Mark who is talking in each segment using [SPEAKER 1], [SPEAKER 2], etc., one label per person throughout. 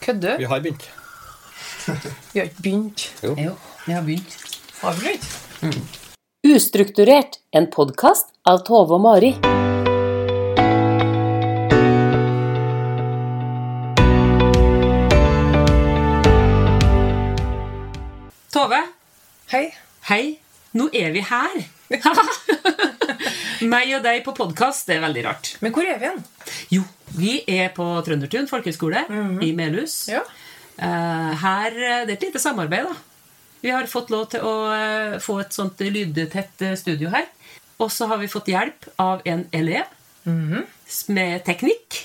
[SPEAKER 1] Kødder du?
[SPEAKER 2] Vi har begynt.
[SPEAKER 1] Vi har ikke begynt.
[SPEAKER 3] Jo, vi har begynt.
[SPEAKER 1] Har vi ikke?
[SPEAKER 4] Ustrukturert, en podkast av Tove og Mari.
[SPEAKER 3] Tove,
[SPEAKER 1] Hei.
[SPEAKER 3] hei. Nå er vi her. Meg og deg på podkast, det er veldig rart.
[SPEAKER 1] Men hvor er vi igjen?
[SPEAKER 3] Jo, vi er på Trøndertun folkehøgskole i Melhus.
[SPEAKER 1] Ja.
[SPEAKER 3] Eh, her, eh, det er et lite samarbeid, da. Vi har fått lov til å eh, få et sånt lydtett eh, studio her. Og så har vi fått hjelp av en elev s- med teknikk.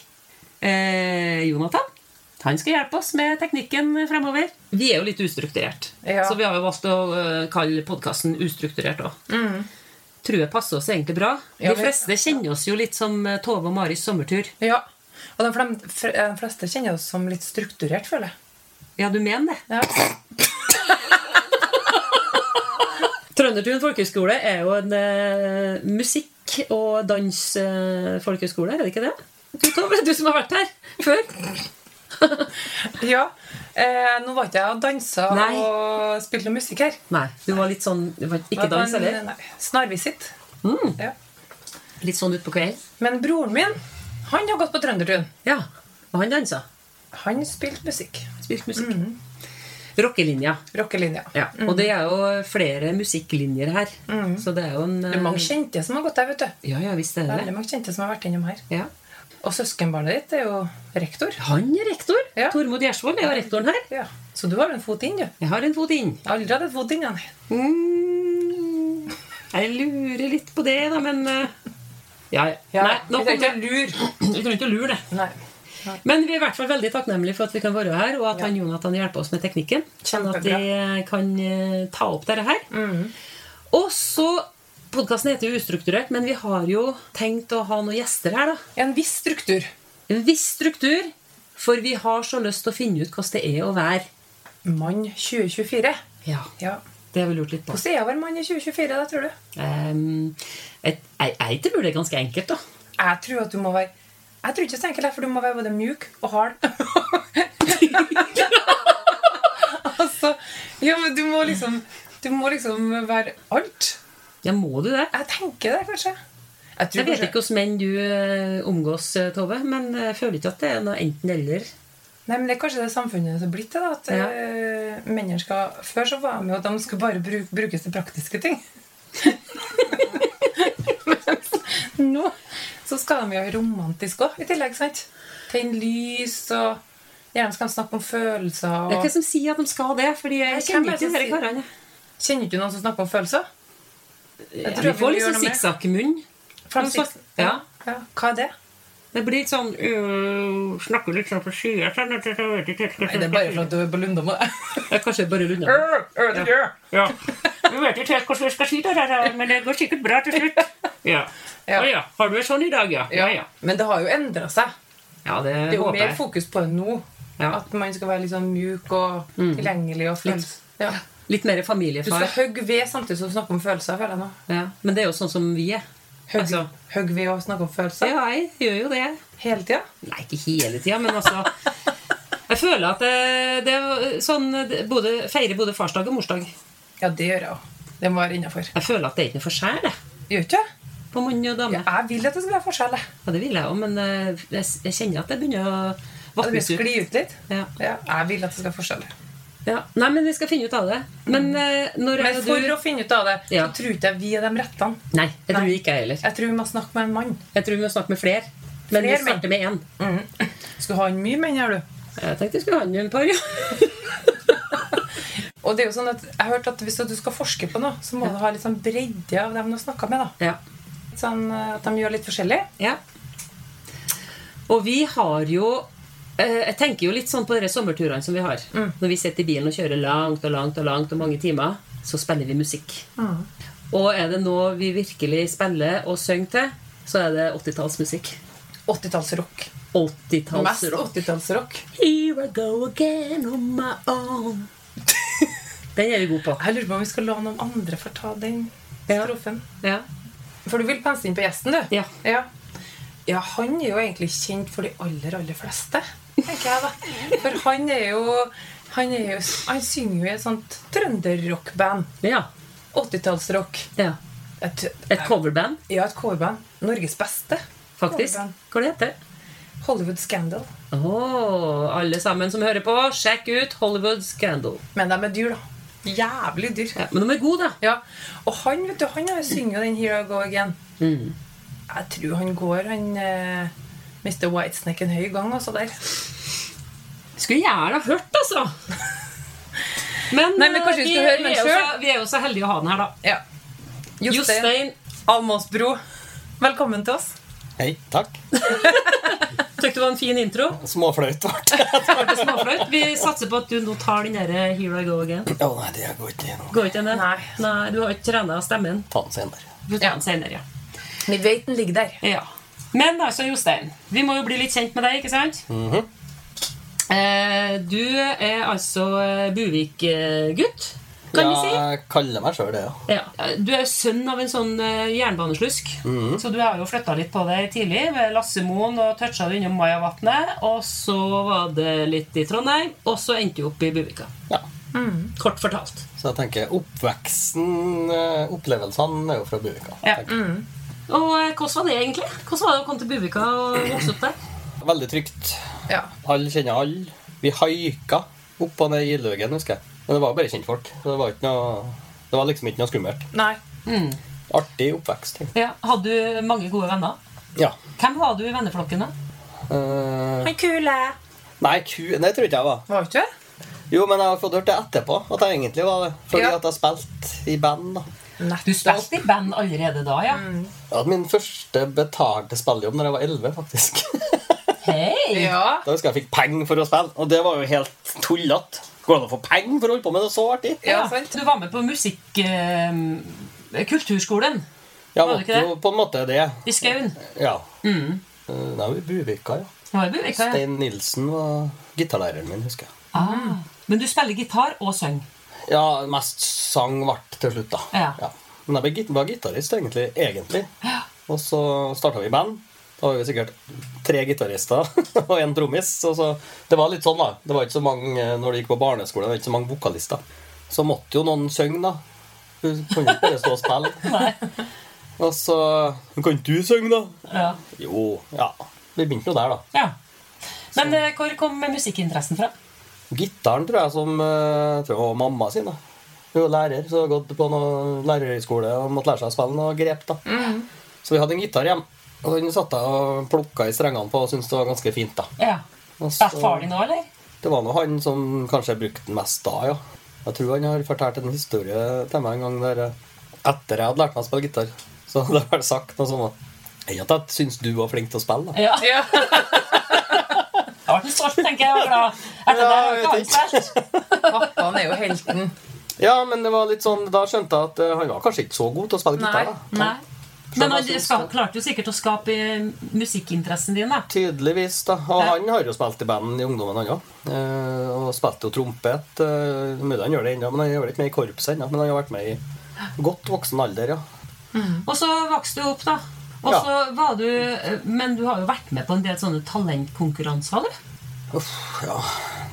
[SPEAKER 3] Eh, Jonathan. Han skal hjelpe oss med teknikken fremover. Vi er jo litt ustrukturert,
[SPEAKER 1] Ja.
[SPEAKER 3] så vi har jo valgt å eh, kalle podkasten Ustrukturert òg. Tror jeg passer oss egentlig bra.
[SPEAKER 1] Ja,
[SPEAKER 3] De
[SPEAKER 1] vi-
[SPEAKER 3] fleste kjenner oss jo litt som eh, Tove og Maris sommertur.
[SPEAKER 1] Ja. Og de, flem, fre- eh, de fleste kjenner oss som litt strukturert, føler jeg.
[SPEAKER 3] Ja, du mener det?
[SPEAKER 1] Ja.
[SPEAKER 3] Trøndertun folkehøgskole er jo en eh, musikk- og dans-folkehøgskole, er det ikke det? Du, Tove, du som har vært her før.
[SPEAKER 1] ja. Eh, nå var ikke jeg og dansa
[SPEAKER 3] Nei.
[SPEAKER 1] og spilte noe musikk her.
[SPEAKER 3] Nei, du var litt sånn du var Ikke
[SPEAKER 1] Det var
[SPEAKER 3] dans,
[SPEAKER 1] en-
[SPEAKER 3] eller? Mm.
[SPEAKER 1] Nei, snarvisitt. Ja.
[SPEAKER 3] Litt sånn utpå kvelden.
[SPEAKER 1] Men broren min, han har gått på Trøndertun.
[SPEAKER 3] Ja. Og han dansa.
[SPEAKER 1] Han spilte musikk.
[SPEAKER 3] Spilte musikk. Rockelinja.
[SPEAKER 1] Rockelinja.
[SPEAKER 3] Ja. Og det er jo flere musikklinjer her. Så Mhm. det er jo en eh,
[SPEAKER 1] Det er mange kjente som har gått der, vet du.
[SPEAKER 3] Ja, ja, visst er det
[SPEAKER 1] Veldig
[SPEAKER 3] det.
[SPEAKER 1] mange kjente som har vært innom her.
[SPEAKER 3] Ja.
[SPEAKER 1] Og søskenbarnet ditt er jo rektor.
[SPEAKER 3] Han er rektor.
[SPEAKER 1] Ja.
[SPEAKER 3] Tormod Gjersvold er jo rektoren her.
[SPEAKER 1] Ja. Så du har jo en fot inn, du.
[SPEAKER 3] Jeg har en fot inn.
[SPEAKER 1] Jeg har aldri hatt en fot inn, jeg, nei.
[SPEAKER 3] Mm, jeg lurer litt på det, da, men eh, Ja, ja.
[SPEAKER 1] Ja,
[SPEAKER 3] Nei, nå
[SPEAKER 1] vi
[SPEAKER 3] kommer
[SPEAKER 1] trenger
[SPEAKER 3] jeg Jeg trenger ikke å lure det.
[SPEAKER 1] Nei.
[SPEAKER 3] Men vi er i hvert fall veldig takknemlige for at vi kan være her, og at han Jonathan hjelper oss med teknikken. Sånn at vi eh, kan eh, ta opp dette her. Og så Podkasten heter jo Ustrukturert, men vi har jo tenkt å ha noen gjester her, da.
[SPEAKER 1] En viss struktur.
[SPEAKER 3] En viss struktur. For vi har så lyst til å finne ut hvordan det er å være
[SPEAKER 1] Mann 2024.
[SPEAKER 3] Ja,
[SPEAKER 1] Ja.
[SPEAKER 3] det har vi lurt litt på.
[SPEAKER 1] Hvordan er jeg å være mann i 2024, da, tror du?
[SPEAKER 3] Um, jeg, jeg, jeg tror det er ganske enkelt, da.
[SPEAKER 1] Jeg tror at du må være Jeg tror ikke så enkelt, for du må være både mjuk og hard. altså Ja, men du må liksom Du må liksom være alt.
[SPEAKER 3] Ja, må du det?
[SPEAKER 1] Jeg tenker det, kanskje. Jeg
[SPEAKER 3] Jeg
[SPEAKER 1] tror
[SPEAKER 3] vet
[SPEAKER 1] kanskje-
[SPEAKER 3] ikke hvordan menn du eh, omgås, eh, Tove, men jeg føler ikke at det er noe enten-eller.
[SPEAKER 1] Nei, men Det er kanskje det samfunnet som er blitt det. da, at
[SPEAKER 3] Ja.
[SPEAKER 1] eh, mennesker, Før så var de jo at de skulle bare bru- brukes til praktiske ting. Mens nå så skal de jo være romantiske òg, i tillegg. sant? Tenne lys og Gjerne skal de snakke om følelser.
[SPEAKER 3] Det er
[SPEAKER 1] og...
[SPEAKER 3] ikke som sier at de skal det, fordi jeg,
[SPEAKER 1] Nei, hvem er
[SPEAKER 3] kjenner
[SPEAKER 1] det
[SPEAKER 3] ikke disse
[SPEAKER 1] som
[SPEAKER 3] karene.
[SPEAKER 1] Kjenner ikke du noen som snakker om følelser?
[SPEAKER 3] Ja,
[SPEAKER 1] tror
[SPEAKER 3] vi
[SPEAKER 1] jeg
[SPEAKER 3] får
[SPEAKER 1] vi gjør
[SPEAKER 3] litt
[SPEAKER 1] noe
[SPEAKER 3] sånn
[SPEAKER 1] med.
[SPEAKER 3] sikksakkmunn.
[SPEAKER 1] Fra
[SPEAKER 3] Noen som-
[SPEAKER 1] sist-
[SPEAKER 3] ja.
[SPEAKER 1] ja. Hva er det?
[SPEAKER 3] Det blir litt sånn øh, Snakker litt sånn på skya sånn, at jeg vet ikke-
[SPEAKER 1] Nei, Det er bare for at du er på Lunda med det.
[SPEAKER 3] Ja, Kanskje bare lunda.
[SPEAKER 1] Øh, øh, det gjør.
[SPEAKER 3] Ja. Jeg vet ikke helt hvordan jeg skal si det, der, men det går sikkert bra til slutt. Ja.
[SPEAKER 1] Ja.
[SPEAKER 3] Å ja. Har du det sånn i dag, ja? Ja, ja.
[SPEAKER 1] Men det har jo endra seg.
[SPEAKER 3] ja det,
[SPEAKER 1] Det er jo
[SPEAKER 3] håper
[SPEAKER 1] mer
[SPEAKER 3] jeg.
[SPEAKER 1] fokus på det nå.
[SPEAKER 3] Ja.
[SPEAKER 1] At man skal være litt sånn mjuk og
[SPEAKER 3] Mm.
[SPEAKER 1] tilgjengelig. og følelse. Ja.
[SPEAKER 3] Litt mer
[SPEAKER 1] Du skal
[SPEAKER 3] familiefar.
[SPEAKER 1] hogge ved samtidig som du snakker om følelser. føler jeg nå.
[SPEAKER 3] Ja. Men det er jo sånn som vi er.
[SPEAKER 1] Hogg
[SPEAKER 3] Altså.
[SPEAKER 1] hogg ved og snakke om følelser
[SPEAKER 3] Ja, jeg gjør jo det.
[SPEAKER 1] hele tida.
[SPEAKER 3] Nei, ikke hele tida, men altså Jeg føler at det, det er sånn det- både, Feire både farsdag og morsdag.
[SPEAKER 1] Ja, det gjør jeg òg. Det må være innafor.
[SPEAKER 3] Jeg føler at det er ikke noe forskjell jeg,
[SPEAKER 1] Gjør ikke jeg?
[SPEAKER 3] på mann og dame. Ja.
[SPEAKER 1] Jeg vil at det skal være forskjell. jeg.
[SPEAKER 3] det vil jeg òg, men eh, jeg, jeg kjenner at det begynner å
[SPEAKER 1] At det
[SPEAKER 3] vatnes ut.
[SPEAKER 1] skli ut litt.
[SPEAKER 3] Ja.
[SPEAKER 1] Ja, jeg vil at det skal være forskjell.
[SPEAKER 3] Ja. Nei, men vi skal finne ut av det. Men eh, når jeg
[SPEAKER 1] Men
[SPEAKER 3] og
[SPEAKER 1] for
[SPEAKER 3] du
[SPEAKER 1] å finne ut av det, så
[SPEAKER 3] Ja.
[SPEAKER 1] tror ikke jeg vi er de rettene.
[SPEAKER 3] Nei, jeg tror
[SPEAKER 1] Nei.
[SPEAKER 3] ikke jeg heller.
[SPEAKER 1] Jeg tror vi må snakke med en mann.
[SPEAKER 3] Jeg tror vi må snakke med flere. Men
[SPEAKER 1] Flere
[SPEAKER 3] vi starter med én.
[SPEAKER 1] Skal ha en mye menn her, du.
[SPEAKER 3] Jeg tenkte vi skulle ha en par, ja.
[SPEAKER 1] Og det er jo sånn at jeg har hørt at hvis du skal forske på noe, så må du ha litt sånn bredde av dem du har snakka med. da.
[SPEAKER 3] ja.
[SPEAKER 1] Sånn eh, at de gjør litt forskjellig.
[SPEAKER 3] Ja. Og vi har jo eh, Jeg tenker jo litt sånn på de sommerturene som vi har. Når vi sitter i bilen og kjører langt og langt og langt og mange timer, så spiller vi musikk. Og er det noe vi virkelig spiller og synger til, så er det 80-tallsmusikk.
[SPEAKER 1] 80-tallsrock. Mest
[SPEAKER 3] 80-tallsrock.
[SPEAKER 1] 80-tallsrock.
[SPEAKER 3] Here I go again on my own. Den er vi gode på.
[SPEAKER 1] Jeg lurer på om vi skal la noen andre få ta den
[SPEAKER 3] Ja.
[SPEAKER 1] strofen.
[SPEAKER 3] Ja.
[SPEAKER 1] For du vil pense inn på gjesten, du?
[SPEAKER 3] Ja.
[SPEAKER 1] ja. Ja, han er jo egentlig kjent for de aller, aller fleste. tenker jeg da. For han er jo Han, er jo, han synger jo i et sånt trønderrockband.
[SPEAKER 3] Ja.
[SPEAKER 1] 80-tallsrock.
[SPEAKER 3] ja.
[SPEAKER 1] Et,
[SPEAKER 3] Et coverband,
[SPEAKER 1] ja, et coverband. Norges beste.
[SPEAKER 3] faktisk.
[SPEAKER 1] Coverband.
[SPEAKER 3] Hva det heter det?
[SPEAKER 1] Hollywood Scandal.
[SPEAKER 3] Åh, alle sammen som hører på, sjekk ut Hollywood Scandal.
[SPEAKER 1] Men de er dyr, da. Jævlig dyr.
[SPEAKER 3] Ja, men de er gode, da.
[SPEAKER 1] Ja, Og han vet du, han har jo synger jo den 'Here I Go Again'. Mm. Jeg tror han går, han eh, Mr. Whitesnake en høy gang, altså, der.
[SPEAKER 3] Skulle gjerne ha hørt, altså. Men,
[SPEAKER 1] Nei, men kanskje vi
[SPEAKER 3] eh,
[SPEAKER 1] skal høre den
[SPEAKER 3] vi, er jo
[SPEAKER 1] selv?
[SPEAKER 3] så, vi er jo så heldige å ha den her, da.
[SPEAKER 1] Ja. Jostein
[SPEAKER 3] Jostein,
[SPEAKER 1] Almåsbro, velkommen til oss.
[SPEAKER 2] Hei, takk.
[SPEAKER 3] syntes det var en fin intro.
[SPEAKER 2] Småflaut ble det.
[SPEAKER 3] Var det småflaut? Vi satser på at du nå tar den derre Here I Go Again.
[SPEAKER 2] Å nei, det går ikke gjennom.
[SPEAKER 3] Går ikke den?
[SPEAKER 1] Nei.
[SPEAKER 3] Nei, du har ikke trena stemmen.
[SPEAKER 2] Ta den senere.
[SPEAKER 3] Vi tar den senere, ja.
[SPEAKER 1] Vi vet den ligger der.
[SPEAKER 3] Ja. Men altså, Jostein, vi må jo bli litt kjent med deg, ikke sant? eh, du er altså eh, Buvik-gutt, kan vi si.
[SPEAKER 2] Jeg kaller meg sjøl det, ja.
[SPEAKER 3] Ja. Du er sønn av en sånn eh, jernbaneslusk, så du har jo flytta litt på deg tidlig. Ved Lassemoen og toucha du innom Majavatnet. Og så var det litt i Trondheim, og så endte du opp i Buvika.
[SPEAKER 2] ja.
[SPEAKER 3] Kort fortalt.
[SPEAKER 2] Så jeg tenker oppveksten, eh, opplevelsene, er jo fra Buvika.
[SPEAKER 3] Ja.
[SPEAKER 2] tenker jeg.
[SPEAKER 3] Og eh, hvordan var det egentlig? Hvordan var det å komme til Buvika og vokse opp der?
[SPEAKER 2] Veldig trygt.
[SPEAKER 1] Ja.
[SPEAKER 2] Alle kjenner alle. Vi haika opp og ned Gildehaugen, husker jeg. Men det var jo bare kjentfolk. Så det var, ikke noe, det var liksom ikke noe skummelt.
[SPEAKER 1] Nei.
[SPEAKER 2] Artig oppvekst. tenker jeg.
[SPEAKER 3] Mm. Ja, hadde du mange gode venner?
[SPEAKER 2] Ja.
[SPEAKER 3] Hvem var du i venneflokken, da?
[SPEAKER 2] Eh,
[SPEAKER 1] Han kule.
[SPEAKER 2] nei, ku, det tror ikke jeg var.
[SPEAKER 1] Var du ikke det?
[SPEAKER 2] Jo, men jeg har fått hørt det etterpå, at jeg egentlig var det. Fordi
[SPEAKER 1] Ja.
[SPEAKER 2] at jeg spilte i band. da.
[SPEAKER 3] Du
[SPEAKER 1] Nettopp.
[SPEAKER 3] spilte i band allerede da, ja.
[SPEAKER 1] Mm.
[SPEAKER 2] Jeg hadde min første betalte spillejobb når jeg var 11, faktisk.
[SPEAKER 3] Hei!
[SPEAKER 1] Ja.
[SPEAKER 2] da husker jeg jeg fikk penger for å spille, og det var jo helt tullete. Går det an å få penger for å holde på med det så artig?
[SPEAKER 1] Ja,
[SPEAKER 3] Ja,
[SPEAKER 1] sant.
[SPEAKER 3] Du var med på musikk... eh, kulturskolen
[SPEAKER 2] Jeg
[SPEAKER 3] Var det ikke
[SPEAKER 2] måtte jo på en måte det.
[SPEAKER 3] i Skaun.
[SPEAKER 2] Ja. Eh, Det var i Buvika, ja.
[SPEAKER 3] Det var i Buvika, ja.
[SPEAKER 2] Stein Nilsen var gitarlæreren min, husker jeg.
[SPEAKER 3] Ah. Men du spiller gitar og synger.
[SPEAKER 2] Ja, mest sang ble til slutt, da.
[SPEAKER 3] Ja.
[SPEAKER 2] Men jeg ble git- var gitarist, egentlig. egentlig. Og så starta vi band. Da var vi sikkert tre gitarister og én trommis. Og så, det var litt sånn, da. Det var ikke så mange, eh, Når du gikk på barneskole, det var ikke så mange vokalister. Så måtte jo noen synge, da. Hun kunne ikke bare stå og spille. og så «Men Kan ikke du synge, da?
[SPEAKER 3] Ja.
[SPEAKER 2] Jo, ja. Vi begynte jo der, da.
[SPEAKER 3] ja. Men eh, hvor kom musikkinteressen fra?
[SPEAKER 2] Gitaren tror jeg som eh, tror jeg var mamma sin. da Hun var lærer, så hun hadde gått på noen lærerhøyskole og måtte lære seg å spille noe grep. da
[SPEAKER 3] Mm.
[SPEAKER 2] Så vi hadde en gitar hjemme, og den satt jeg og plukka i strengene på og syntes det var ganske fint. da
[SPEAKER 3] Ja.
[SPEAKER 2] Og så-
[SPEAKER 3] Spilte far din òg, eller?
[SPEAKER 2] Det var nå han som kanskje brukte den mest da, ja. Jeg tror han har fortalt en historie til meg en gang der eh, etter jeg hadde lært meg å spille gitar. Så hadde jeg vel sagt noe sånt at Ikke at jeg syns du var flink til å spille, da.
[SPEAKER 3] Ja.
[SPEAKER 1] Ja.
[SPEAKER 3] Da ble han stolt, tenker jeg. og glad. Etter det
[SPEAKER 2] Ja, jeg
[SPEAKER 3] har ikke han
[SPEAKER 2] vet
[SPEAKER 3] spilt.
[SPEAKER 1] Pappaen er jo helten.
[SPEAKER 2] Ja, men det var litt sånn, da skjønte jeg at eh, han var kanskje ikke så god til å spille
[SPEAKER 1] Nei.
[SPEAKER 2] gitar. da
[SPEAKER 3] Nei. Men han
[SPEAKER 2] jeg synes
[SPEAKER 3] ska-
[SPEAKER 2] det.
[SPEAKER 3] klarte jo sikkert å skape eh, musikkinteressen din, da.
[SPEAKER 2] Tydeligvis, da. Og
[SPEAKER 3] Ja.
[SPEAKER 2] han har jo spilt i band i ungdommen, han òg. Eh, og spilte jo trompet. Eh, mulig han gjør det ennå, men han gjør det ikke med i korpset ennå. Men han har vært med i godt voksen alder, ja.
[SPEAKER 3] Og så vokste du opp, da. Og
[SPEAKER 2] Ja.
[SPEAKER 3] så var du, eh, Men du har jo vært med på en del sånne talentkonkurranser. du.
[SPEAKER 2] Uff, ja.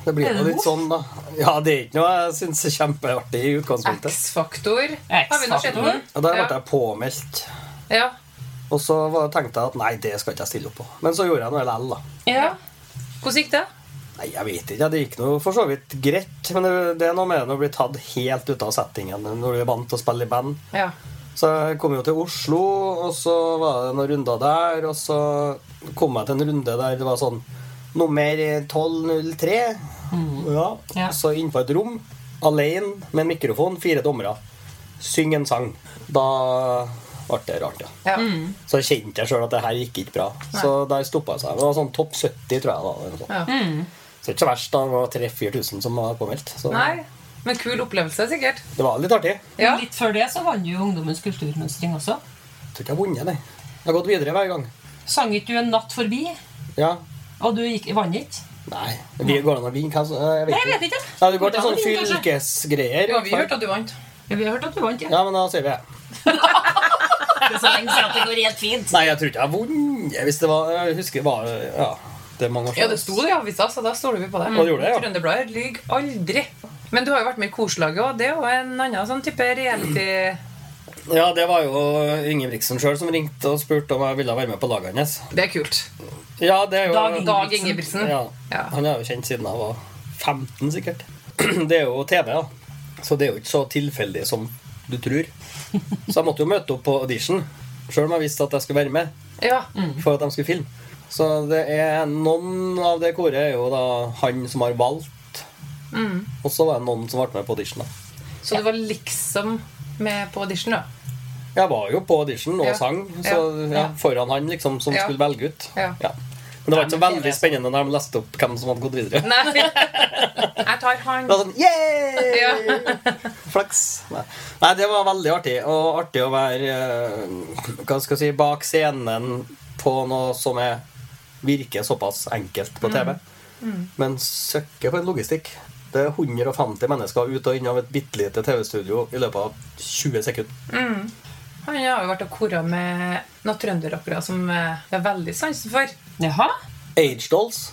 [SPEAKER 2] Det
[SPEAKER 3] Er
[SPEAKER 2] blir
[SPEAKER 3] det
[SPEAKER 2] jo litt
[SPEAKER 3] godt?
[SPEAKER 2] sånn, da. Ja, det er ikke noe jeg syns er kjempeartig i utgangspunktet.
[SPEAKER 1] X-faktor. Har vi nå sett
[SPEAKER 3] X-faktor.
[SPEAKER 1] den?
[SPEAKER 2] Og der ble
[SPEAKER 1] Ja.
[SPEAKER 2] jeg påmeldt.
[SPEAKER 1] Ja.
[SPEAKER 2] Og så var, tenkte jeg at nei, det skal ikke jeg stille opp på. Men så gjorde jeg noe likevel, da.
[SPEAKER 1] ja. Hvordan gikk det?
[SPEAKER 2] Nei, jeg vet ikke. Det gikk noe for så vidt greit. Men det, det er noe med det å bli tatt helt ut av settingen når du er vant til å spille i band.
[SPEAKER 1] Ja.
[SPEAKER 2] Så jeg kom jo til Oslo, og så var det noen runder der. Og så kom jeg til en runde der det var sånn nummer 1203. Ja.
[SPEAKER 3] Ja.
[SPEAKER 2] Så inn på et rom, alene med en mikrofon, fire dommere. Syng en sang. Da ble det rart, ja.
[SPEAKER 1] ja.
[SPEAKER 2] Så kjente jeg sjøl at det her gikk ikke bra. Så der stoppa jeg seg. Det var sånn topp 70, tror jeg. da eller noe sånt.
[SPEAKER 1] Ja.
[SPEAKER 2] Så ikke så verst. da, Det var 3000-4000 som var påmeldt. Så
[SPEAKER 1] Nei. Men kul opplevelse, sikkert.
[SPEAKER 2] det var litt artig.
[SPEAKER 1] Ja.
[SPEAKER 3] Litt før det så vant du jo Ungdommens kulturmønstring også.
[SPEAKER 2] Jeg tror ikke jeg har vunnet, nei. Jeg har gått videre hver gang.
[SPEAKER 3] Sang ikke du En natt forbi?
[SPEAKER 2] Ja,
[SPEAKER 3] Og du gikk, vant ikke?
[SPEAKER 2] Nei, vi går an å vinne? Hva så- Jeg vet
[SPEAKER 3] Nei, jeg vet ikke.
[SPEAKER 2] Nei, det går til
[SPEAKER 3] Hvordan
[SPEAKER 2] sånne
[SPEAKER 3] vinne, kanskje?
[SPEAKER 2] fylkesgreier.
[SPEAKER 1] Ja, vi hørte at du vant.
[SPEAKER 3] Ja, Vi har hørt at du vant, ja.
[SPEAKER 2] Ja, men da sier vi det.
[SPEAKER 3] Det er så lenge siden at det går helt fint.
[SPEAKER 2] Nei, jeg tror ikke jeg har vunnet. Hvis det var Jeg husker det var ja. Det er mange år
[SPEAKER 1] Ja, det sto det i avisa, så da stoler vi på det.
[SPEAKER 2] Ja, det gjorde det, ja.
[SPEAKER 1] Trønderbladet lyver aldri. Men du har jo vært med i Korslaget òg. Det er jo en annen sånn type reality
[SPEAKER 2] Ja, det var jo Ingebrigtsen sjøl som ringte og spurte om jeg ville være med på laget hans.
[SPEAKER 1] Det er kult.
[SPEAKER 2] Ja, det er jo
[SPEAKER 3] Dag Ingebrigtsen.
[SPEAKER 1] Dag Ingebrigtsen.
[SPEAKER 2] Ja.
[SPEAKER 1] Ja.
[SPEAKER 2] Han er jo kjent siden jeg var 15, sikkert. Det er jo TV, da. Så det er jo ikke så tilfeldig som du tror. Så jeg måtte jo møte opp på audition, sjøl om jeg visste at jeg skulle være med.
[SPEAKER 1] Ja.
[SPEAKER 2] Mm. For at de skulle filme. Så det er noen av det koret er jo da han som har valgt.
[SPEAKER 1] Mm.
[SPEAKER 2] Og så var det noen som ble med på audition. da
[SPEAKER 1] Så du var liksom med på audition, da?
[SPEAKER 2] Jeg var jo på audition og
[SPEAKER 1] Ja.
[SPEAKER 2] sang så,
[SPEAKER 1] Ja.
[SPEAKER 2] ja, foran han liksom som
[SPEAKER 1] Ja.
[SPEAKER 2] skulle velge ut.
[SPEAKER 1] Ja.
[SPEAKER 2] Men det var ikke så
[SPEAKER 3] men det
[SPEAKER 2] veldig spennende når de leste opp hvem som hadde gått videre.
[SPEAKER 1] Nei. Jeg tar han.
[SPEAKER 2] Det var sånn, yeah!
[SPEAKER 1] Ja.
[SPEAKER 2] Flaks. Nei. Nei, det var veldig artig. Og artig å være eh, hva skal jeg si, bak scenen på noe som er, virker såpass enkelt på TV. Men søkke for en logistikk. Det er 150 mennesker ut og inn av et bitte lite TV-studio i løpet av 20 sekunder.
[SPEAKER 1] Han har jo vært og kora med noen trønderrockere som eh, jeg har veldig sansen for.
[SPEAKER 3] Jaha.
[SPEAKER 2] Age Dolls.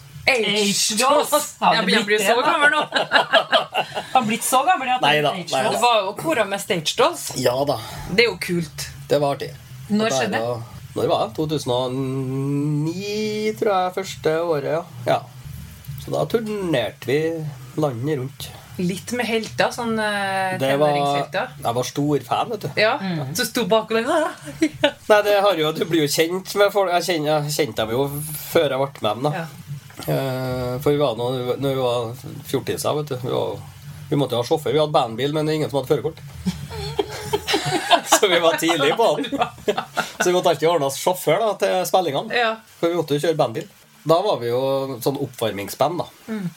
[SPEAKER 3] H-Dolls. Ja, det
[SPEAKER 1] Jeg blir- jeg blir
[SPEAKER 3] blitt
[SPEAKER 1] så
[SPEAKER 3] det, da.
[SPEAKER 1] gammel nå.
[SPEAKER 3] Han har blitt så gammel at
[SPEAKER 2] Nei da,
[SPEAKER 3] H-Dolls.
[SPEAKER 2] nei
[SPEAKER 1] Du var jo og kora med Stage Dolls.
[SPEAKER 2] Ja da.
[SPEAKER 1] Det er jo kult.
[SPEAKER 2] Det var artig.
[SPEAKER 3] Når
[SPEAKER 2] Dette er
[SPEAKER 3] skjedde?
[SPEAKER 2] jo- Når var det? 2009, tror jeg. Første året, ja. ja. Så da turnerte vi landet rundt.
[SPEAKER 1] Litt med helter, sånn eh,
[SPEAKER 2] Det var,
[SPEAKER 1] tenåringshelter.
[SPEAKER 2] jeg var stor fan, vet du.
[SPEAKER 1] Ja, Så sto bak og «Ah, ja.
[SPEAKER 2] Nei, det har jo, du blir jo kjent med folk. Jeg kjenner- jeg kjente dem jo før jeg ble med dem. da.
[SPEAKER 1] Ja.
[SPEAKER 2] Eh, For vi var nå, når vi var fjortiser, vet du. Vi, var, vi måtte jo ha sjåfør. Vi hadde bandbil, men det er ingen som hadde førerkort. Så vi var tidlig på den. Så vi måtte alltid ordne oss sjåfør da, til spillingene.
[SPEAKER 1] Ja.
[SPEAKER 2] For vi måtte jo kjøre bandbil. Da var vi jo sånn oppvarmingsband, da.
[SPEAKER 1] Mm.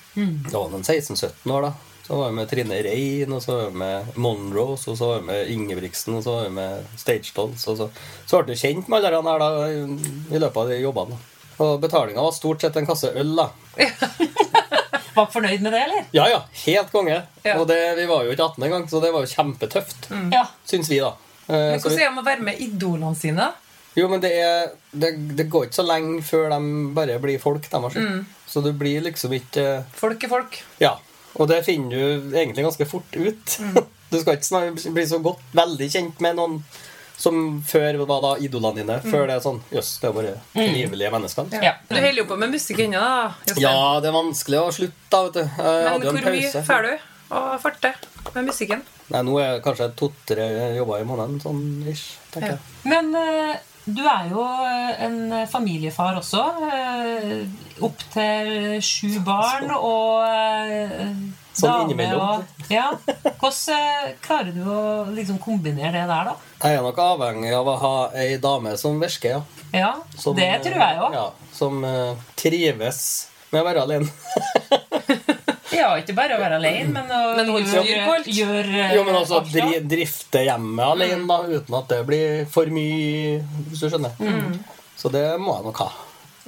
[SPEAKER 2] Da var det en 16-17 år, da. Så var vi med Trine Rein, og så var vi med Monrose, og så var vi med Ingebrigtsen, og så var vi med Stage Dolls. Og så, så ble du kjent med alle de her da, i- i løpet av de jobbene. da. Og betalinga var stort sett en kasse øl, da.
[SPEAKER 3] Var ikke fornøyd med det, eller?
[SPEAKER 2] Ja ja, helt konge.
[SPEAKER 1] Ja. Mm.
[SPEAKER 2] Og det, vi var jo ikke 18 engang, så det var jo kjempetøft,
[SPEAKER 3] Ja.
[SPEAKER 2] syns vi, da. Eh,
[SPEAKER 1] Men
[SPEAKER 2] så vi-
[SPEAKER 1] hvordan er det med å være med idolene sine?
[SPEAKER 2] Jo, men det, er, det, det går ikke så lenge før de bare blir folk. De har
[SPEAKER 1] Mm.
[SPEAKER 2] skjønt. Så du blir liksom ikke
[SPEAKER 1] Folk er folk.
[SPEAKER 2] Ja. Og det finner du egentlig ganske fort ut.
[SPEAKER 1] Mm.
[SPEAKER 2] Du skal ikke snar- bli så godt veldig kjent med noen som før var da idolene dine. Før det er sånn Jøss, det er bare trivelige mennesker.
[SPEAKER 1] Mm. Ja.
[SPEAKER 3] Ja.
[SPEAKER 1] Du holder jo på med musikk ennå, da. Jostein.
[SPEAKER 2] Ja, det er vanskelig å slutte, da, vet du. Jeg
[SPEAKER 1] Men
[SPEAKER 2] hadde jo
[SPEAKER 1] hvor
[SPEAKER 2] en
[SPEAKER 1] mye
[SPEAKER 2] pause.
[SPEAKER 1] får du å farte med musikken?
[SPEAKER 2] Nei, nå er det kanskje to-tre jobber i måneden, sånn ish,
[SPEAKER 1] Ja.
[SPEAKER 2] tenker jeg.
[SPEAKER 3] Men eh, du er jo eh, en familiefar også. eh, Opp til sju barn og eh,
[SPEAKER 2] Sånn
[SPEAKER 3] dame
[SPEAKER 2] innimellom.
[SPEAKER 3] Og, ja. Hvordan eh, klarer du å liksom kombinere det der, da?
[SPEAKER 2] Jeg er nok avhengig av å ha ei dame som virker, ja.
[SPEAKER 3] Ja,
[SPEAKER 2] Som,
[SPEAKER 3] Det
[SPEAKER 2] eh,
[SPEAKER 3] tror jeg òg.
[SPEAKER 2] Ja, som eh, trives med å være alene.
[SPEAKER 3] Ja, ikke bare å være alene, men å
[SPEAKER 1] Men holde styr på alt.
[SPEAKER 3] gjør, eh,
[SPEAKER 2] jo, men altså
[SPEAKER 3] avstand.
[SPEAKER 2] dri, drifte hjemmet alene, da,
[SPEAKER 3] Mm.
[SPEAKER 2] uten at det blir for mye, hvis du skjønner. Så det må jeg nok ha.
[SPEAKER 3] Og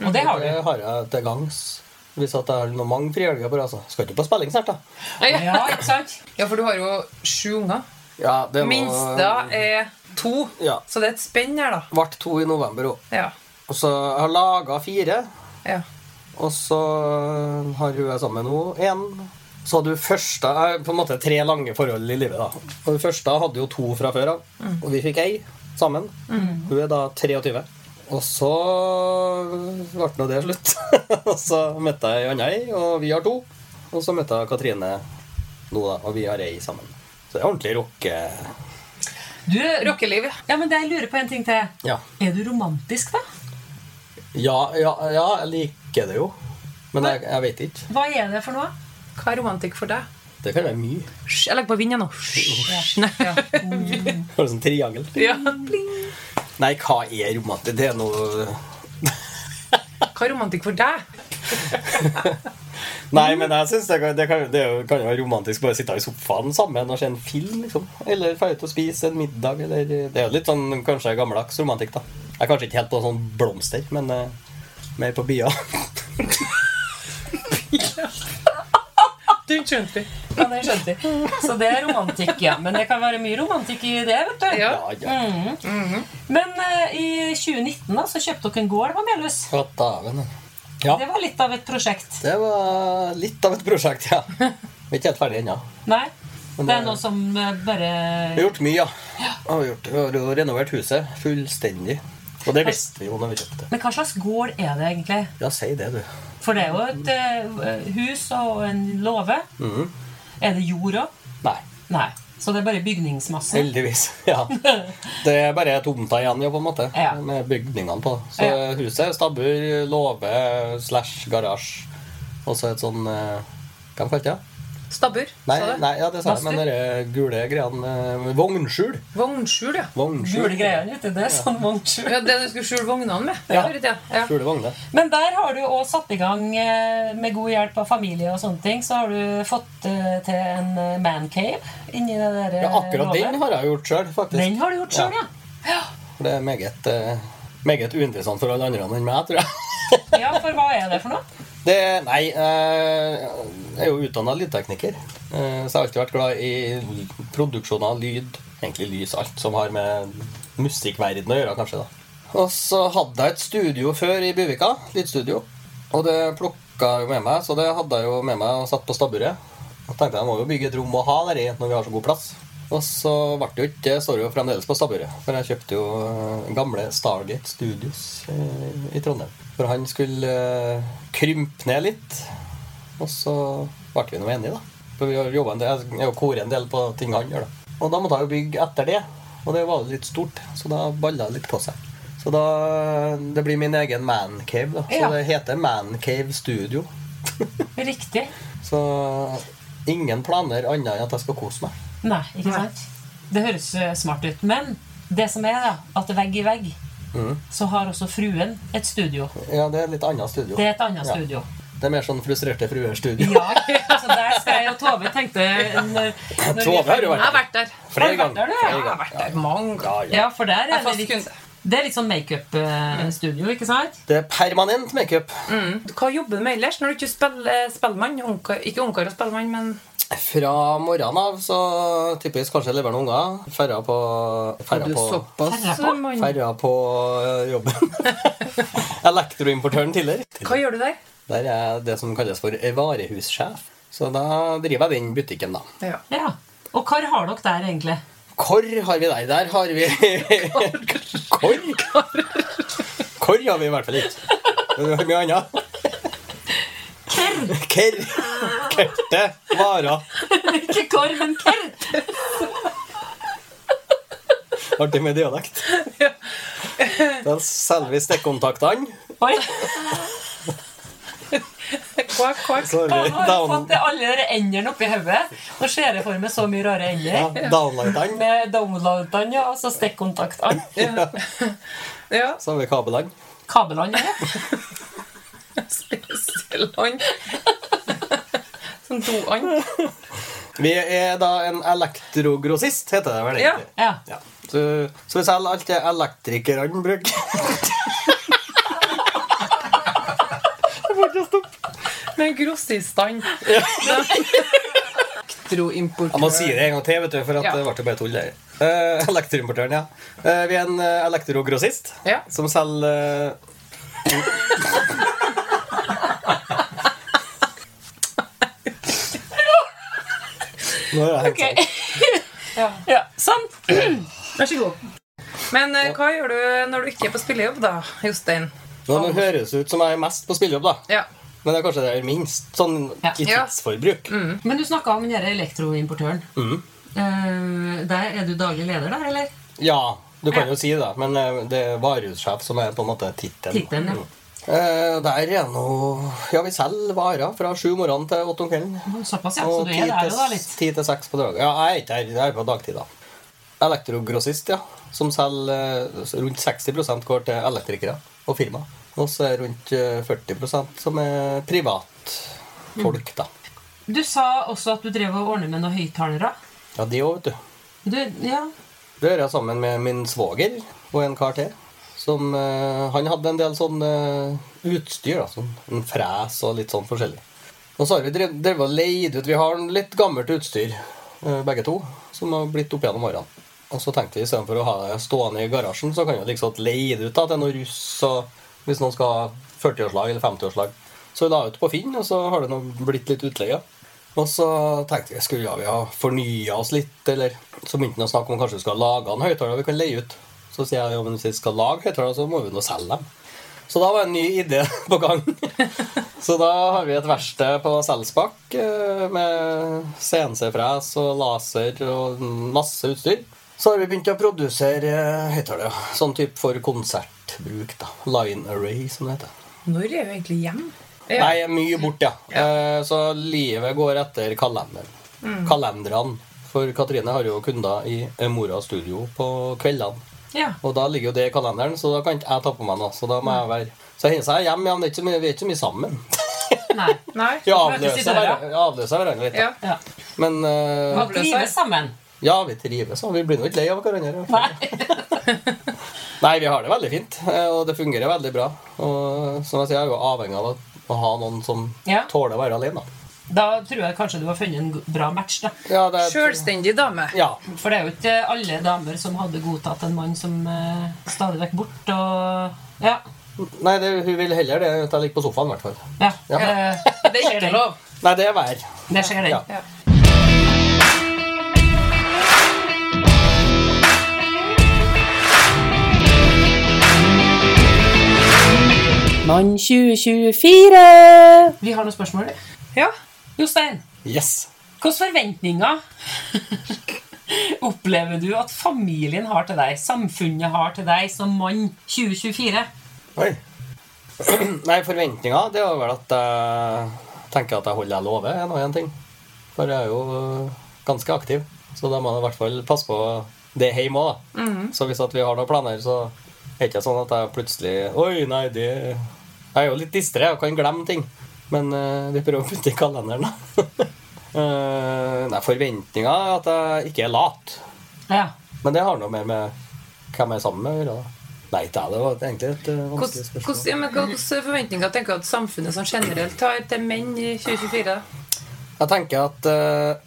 [SPEAKER 3] Mm. det har du.
[SPEAKER 2] Det har jeg til gangs. Hvis at jeg har noen mange frihelger på det, altså. Skal ikke på spilling snart, da.
[SPEAKER 1] Ja,
[SPEAKER 3] Ja, ikke sant?
[SPEAKER 1] for du har jo sju unger.
[SPEAKER 2] Ja, det var-
[SPEAKER 1] Minsta er to,
[SPEAKER 2] Ja.
[SPEAKER 1] så det er et spenn her, da.
[SPEAKER 2] Vart to i november òg.
[SPEAKER 1] Ja.
[SPEAKER 2] Og så jeg har laga fire.
[SPEAKER 1] ja.
[SPEAKER 2] Og så har hun jeg sammen med nå én. Så hadde hun første eh, på en måte tre lange forhold i livet. da. Og Hun første hadde jo to fra før av, og vi fikk ei sammen. Hun er da 23. Og så ble nå det slutt. og så møtte jeg ei anna ei, og vi har to. Og så møtte jeg Katrine nå, da, og vi har ei sammen. Så det er ordentlig rocke...
[SPEAKER 3] Du,
[SPEAKER 1] Rockeliv. ja.
[SPEAKER 3] ja, men det jeg lurer på en ting til.
[SPEAKER 2] Ja.
[SPEAKER 3] Er du romantisk, da?
[SPEAKER 2] Ja, ja, ja, jeg liker det jo. Men jeg, jeg vet ikke.
[SPEAKER 3] Hva er det for noe?
[SPEAKER 1] Hva er romantikk for deg?
[SPEAKER 2] Det kan være mye.
[SPEAKER 1] Hysj, Jeg legger på vinden nå. Hysj.
[SPEAKER 3] Ja.
[SPEAKER 2] Det er sånn triangel.
[SPEAKER 1] Ja.
[SPEAKER 2] Nei, hva er romantisk? Det er noe
[SPEAKER 1] Hva er romantikk for deg?
[SPEAKER 2] Nei, men jeg synes det, kan, det, kan, det er jo- kan jo være romantisk bare å sitte i sofaen sammen og se en film. liksom Eller dra ut og spise en middag. Eller, det er jo litt sånn kanskje gammeldags romantikk. da Jeg er kanskje ikke helt på sånn blomster, men eh, mer på bia.
[SPEAKER 1] Du skjønte det.
[SPEAKER 3] Ja, det skjønte jeg. Så det er romantikk, ja. Men det kan være mye romantikk i det, vet du.
[SPEAKER 1] Ja.
[SPEAKER 2] Ja, ja.
[SPEAKER 3] Men eh, i 2019 da, så kjøpte dere en gård på Melhus.
[SPEAKER 2] Å, dæven. Ja.
[SPEAKER 3] Det var litt av et prosjekt.
[SPEAKER 2] Det var litt av et prosjekt, ja. Vi er ikke helt ferdig ennå.
[SPEAKER 3] Nei?
[SPEAKER 2] Men
[SPEAKER 3] Det er
[SPEAKER 2] det-
[SPEAKER 3] noe som eh, bare
[SPEAKER 2] Vi har gjort mye, ja. Vi har, gjort, vi har jo renovert huset fullstendig. Og det visste vi jo når vi kjøpte.
[SPEAKER 3] Men hva slags gård er det egentlig?
[SPEAKER 2] Ja, si det, du.
[SPEAKER 3] For det er jo et eh, hus og en låve.
[SPEAKER 1] Mhm.
[SPEAKER 3] Er det jord òg?
[SPEAKER 2] Nei.
[SPEAKER 3] Nei. Så det er bare bygningsmassen.
[SPEAKER 2] Heldigvis. Ja. Det er bare tomta igjen, jo, på en måte.
[SPEAKER 3] Ja.
[SPEAKER 2] Med bygningene på. Så
[SPEAKER 3] Ja.
[SPEAKER 2] huset er stabbur, låve slash garasje. Og så et sånn eh, Hva kalte jeg det?
[SPEAKER 1] Stabbur,
[SPEAKER 2] Nei,
[SPEAKER 1] sa du?
[SPEAKER 2] nei, ja, det sa jeg,
[SPEAKER 3] Badstue?
[SPEAKER 2] men de gule greiene eh, Vognskjul.
[SPEAKER 1] Vognskjul, ja.
[SPEAKER 2] Vognskjul.
[SPEAKER 3] Gule greiene vet du, det er sånn vognskjul.
[SPEAKER 1] ja. Det du skulle skjule vognene med?
[SPEAKER 2] Ja.
[SPEAKER 1] Før i tida. Ja.
[SPEAKER 2] Skjule vogner.
[SPEAKER 3] Men der har du òg satt i gang, eh, med god hjelp av familie og sånne ting, så har du fått eh, til en eh, mancave inni det der eh,
[SPEAKER 2] Ja, akkurat
[SPEAKER 3] låvet.
[SPEAKER 2] den har jeg gjort sjøl, faktisk.
[SPEAKER 3] Den har du gjort sjøl, ja.
[SPEAKER 2] For Det er meget, eh, meget uinteressant for alle andre enn meg, tror jeg.
[SPEAKER 3] ja. For hva er det for noe?
[SPEAKER 2] Det, nei, eh, jeg er jo utdanna lydtekniker. eh, Så jeg har alltid vært glad i produksjon av lyd. Egentlig lys, alt som har med musikkverdenen å gjøre, kanskje. da. Og så hadde jeg et studio før i Buvika. Lydstudio. Og det plukka jeg jo med meg, så det hadde jeg jo med meg og satt på stabburet. Og tenkte jeg må jo bygge et rom å ha der i når vi har så god plass. Og så ble det jo ikke Det står jo fremdeles på stabburet. For jeg kjøpte jo eh, gamle Stargate Studios eh, i Trondheim. For han skulle eh, krympe ned litt. Og så ble vi nå enige, da. For vi har jobbet en del, jeg har koret en del på ting han gjør, da. Og da måtte jeg jo bygge etter det. Og det var jo litt stort, så da balla det litt på seg. Så da eh, Det blir min egen mancave, da. Så
[SPEAKER 3] Ja.
[SPEAKER 2] det heter Mancave Studio.
[SPEAKER 3] Riktig.
[SPEAKER 2] Så ingen planer annet enn at jeg skal kose meg.
[SPEAKER 3] Nei, ikke sant? Det høres eh, smart ut. Men det som er, da, at vegg i vegg
[SPEAKER 2] Mm.
[SPEAKER 3] så har også fruen et studio.
[SPEAKER 2] Ja, det er et litt annet studio.
[SPEAKER 3] Det er et annet
[SPEAKER 2] Ja.
[SPEAKER 3] studio.
[SPEAKER 2] Det er mer sånn frustrerte fruer-studio.
[SPEAKER 3] Ja, så der skal jeg og Tove tenkte når, når
[SPEAKER 2] Tove har jo
[SPEAKER 1] Jeg har
[SPEAKER 2] vært
[SPEAKER 1] vært
[SPEAKER 2] der
[SPEAKER 1] der.
[SPEAKER 3] Har
[SPEAKER 2] flere
[SPEAKER 3] du vært
[SPEAKER 2] ganger.
[SPEAKER 3] der, du?
[SPEAKER 2] Flere
[SPEAKER 3] Ja, jeg har
[SPEAKER 2] ganger.
[SPEAKER 1] Vært der mange
[SPEAKER 2] Ja,
[SPEAKER 1] ganger.
[SPEAKER 2] ja.
[SPEAKER 3] Ja, for der
[SPEAKER 1] Jeg er
[SPEAKER 3] er det
[SPEAKER 1] fast
[SPEAKER 3] litt
[SPEAKER 1] kunde.
[SPEAKER 3] Det er litt sånn makeup-studio, ikke sant?
[SPEAKER 2] Det er permanent makeup.
[SPEAKER 1] Hva jobber du med ellers når du ikke spiller eh, spellemann? Ungkar- Ikke ungkar og spellemann, men
[SPEAKER 2] Fra morgenen av så typisk kanskje leverer noen unger. Ferra på Ferra
[SPEAKER 1] Du er
[SPEAKER 2] på,
[SPEAKER 1] såpass
[SPEAKER 3] Ferra på.
[SPEAKER 1] mann.
[SPEAKER 2] ferra på øh, jobben. Elektroimportøren tidligere.
[SPEAKER 1] Hva gjør du der?
[SPEAKER 2] Der er det som kalles for varehussjef. Så da driver jeg den butikken, da.
[SPEAKER 1] Ja.
[SPEAKER 3] Ja. Og hva har dere der, egentlig?
[SPEAKER 2] Hvor har vi der? Der har vi Hvor? Hvor har vi i hvert fall ikke. Men Vi har mye annet. Kerr. Kerte. Varer.
[SPEAKER 3] Ikke korv, men kert!
[SPEAKER 2] Artig med dialekt. Da selger vi stikkontaktene.
[SPEAKER 3] Oi,
[SPEAKER 1] Kvakk, kvakk.
[SPEAKER 2] Så har vi
[SPEAKER 3] Nå har jeg
[SPEAKER 2] down,
[SPEAKER 3] fått alle de endene oppi hodet. Nå ser jeg for meg så mye rare
[SPEAKER 2] ja,
[SPEAKER 3] ender.
[SPEAKER 2] downlightene.
[SPEAKER 3] Med downloadene ja, og så stikkontaktene.
[SPEAKER 2] Ja.
[SPEAKER 1] Ja.
[SPEAKER 2] Så har vi kabelene.
[SPEAKER 3] Kabelene. ja.
[SPEAKER 1] Spesialand. Sånn doand.
[SPEAKER 2] Vi er da en elektrogrossist, heter det vel
[SPEAKER 1] Ja.
[SPEAKER 2] egentlig.
[SPEAKER 3] Ja.
[SPEAKER 2] Ja. Så, så vi selger alt det elektrikerne bruker.
[SPEAKER 1] Med grossistene. Elektroimportør.
[SPEAKER 2] Jeg må si det en gang til, vet du, for at
[SPEAKER 1] Ja.
[SPEAKER 2] det ble jo bare tull. der. Eh, Elektroimportøren, ja. Eh, vi er en eh, elektrogrossist
[SPEAKER 1] Ja.
[SPEAKER 2] som selger eh, Nå er jeg helt
[SPEAKER 3] Ok. Ja, sånn. Vær så god.
[SPEAKER 1] Men eh, hva gjør du når du ikke er på spillejobb, da, Jostein?
[SPEAKER 2] sånn. Nå nå høres det ut som jeg er mest på spillejobb, da.
[SPEAKER 1] Ja.
[SPEAKER 2] Men det er kanskje det jeg er minst sånn
[SPEAKER 3] Ja.
[SPEAKER 2] i tidsforbruk.
[SPEAKER 3] Men du snakka om den her elektroimportøren.
[SPEAKER 2] Mm.
[SPEAKER 3] Eh, der er du daglig leder, der, eller?
[SPEAKER 2] Ja, du kan jo si det, men eh, det er varehussjef som er på en måte tittelen.
[SPEAKER 3] Tittelen, ja.
[SPEAKER 2] Mm. Eh, der er nå Ja, vi selger varer fra sju om morgenen til åtte om kvelden.
[SPEAKER 3] Såpass, ja. Så
[SPEAKER 2] Og
[SPEAKER 3] du
[SPEAKER 2] ti
[SPEAKER 3] er der jo, da,
[SPEAKER 2] til,
[SPEAKER 3] litt.
[SPEAKER 2] ti til seks på dagen. Ja, jeg er ikke her. Jeg er på dagtid, da. Elektrogrossist, ja. Som selger eh, rundt 60 går til elektrikere og firma. Og så er rundt eh, 40 som er privatfolk, da.
[SPEAKER 3] Du sa også at du drev og ordnet med noen høyttalere.
[SPEAKER 2] Ja, det òg, vet du.
[SPEAKER 3] Du, ja.
[SPEAKER 2] Det gjør jeg sammen med min svoger og en kar til. Som, eh, han hadde en del sånn eh, utstyr, da, sånn, en fres og litt sånn forskjellig. Og så har vi drev- drevet og leid ut Vi har en litt gammelt utstyr, eh, begge to, som har blitt opp gjennom årene. Og så tenkte vi istedenfor å ha det stående i garasjen, så kan vi liksom leie det ut da, til noen russ. Og hvis noen skal ha 40-årslag eller 50-årslag. Så vi la ut på Finn, og så har det nå blitt litt utleie. Og så tenkte jeg skulle ja, vi ha fornya oss litt, eller så begynte han å snakke om kanskje vi skal lage en høyttaler vi kan leie ut. Så sier jeg ja, men hvis vi skal lage høyttalere, så må vi nå selge dem. Så da var en ny idé på gang. Så da har vi et verksted på Selsbakk eh, med CNC-fres og laser og masse utstyr. Så har vi begynt å produsere eh, høyttalere. Sånn type for konsertbruk. da. Line array, som det heter.
[SPEAKER 1] Når er jo egentlig hjem? Ja.
[SPEAKER 2] Nei, mye bort, ja. Eh, Så livet går etter kalenderen. Kalenderne. For Katrine har jo kunder i eh, Mora studio på kveldene.
[SPEAKER 1] Ja.
[SPEAKER 2] Og da ligger jo det i kalenderen, så da kan ikke jeg ta på meg noe. Så da må jeg være Så jeg hilser jeg hjem, ja, men det er ikke så mye, vi er ikke så mye sammen.
[SPEAKER 3] Nei.
[SPEAKER 1] Nei. møtes
[SPEAKER 2] Vi
[SPEAKER 1] i
[SPEAKER 2] avløser,
[SPEAKER 1] døra.
[SPEAKER 2] hver- vi avløser hverandre litt. da.
[SPEAKER 1] Ja.
[SPEAKER 3] Ja.
[SPEAKER 2] Men eh,
[SPEAKER 3] Man trives sammen.
[SPEAKER 2] ja, vi trives, og vi blir nå ikke lei av hverandre. i hvert fall.
[SPEAKER 3] Nei.
[SPEAKER 2] Nei, vi har det veldig fint, eh, og det fungerer veldig bra. Og som jeg sier, jeg er jo avhengig av å- å ha noen som
[SPEAKER 3] Ja.
[SPEAKER 2] tåler å være alene. da.
[SPEAKER 3] Da tror jeg kanskje du har funnet en go- bra match, da.
[SPEAKER 2] Ja, det er,
[SPEAKER 1] Selvstendig dame.
[SPEAKER 2] Ja,
[SPEAKER 3] For det er jo ikke alle damer som hadde godtatt en mann som eh, stadig vekk bort og Ja.
[SPEAKER 2] Nei, det, hun vil heller det enn at jeg ligger på sofaen, i hvert fall.
[SPEAKER 3] ja.
[SPEAKER 2] Ja.
[SPEAKER 3] eh,
[SPEAKER 1] Det er ikke lov.
[SPEAKER 2] Nei, det er vær.
[SPEAKER 3] Det skjer, den.
[SPEAKER 2] Ja.
[SPEAKER 1] Ja.
[SPEAKER 4] Mann 2024!
[SPEAKER 3] Vi har noen spørsmål.
[SPEAKER 1] ja.
[SPEAKER 3] Jostein,
[SPEAKER 2] Yes.
[SPEAKER 3] hvilke forventninger opplever du at familien har til deg, samfunnet har til deg som mann 2024?
[SPEAKER 2] Oi. Nei, forventninga det var vel at jeg tenker at jeg holder det jeg lover, er nå en ting. For jeg er jo øh, ganske aktiv, så da må jeg i hvert fall passe på det hjemme òg, da. Så hvis at vi har noen planer, så er det ikke sånn at jeg plutselig Oi, nei, det Jeg er jo litt distré og kan glemme ting, men øh, vi prøver å putte i kalenderen, da. Eh, nei, forventninga er at jeg ikke er lat.
[SPEAKER 3] Ja.
[SPEAKER 2] Men det har noe mer med hvem jeg er sammen med å gjøre. da. Nei, det er- det var egentlig et øh, vanskelig
[SPEAKER 1] Hvordan-
[SPEAKER 2] spørsmål.
[SPEAKER 1] hvordan- ja, men Hvilke forventninger tenker du at samfunnet som generelt har til menn i 2024?
[SPEAKER 2] Jeg tenker at eh,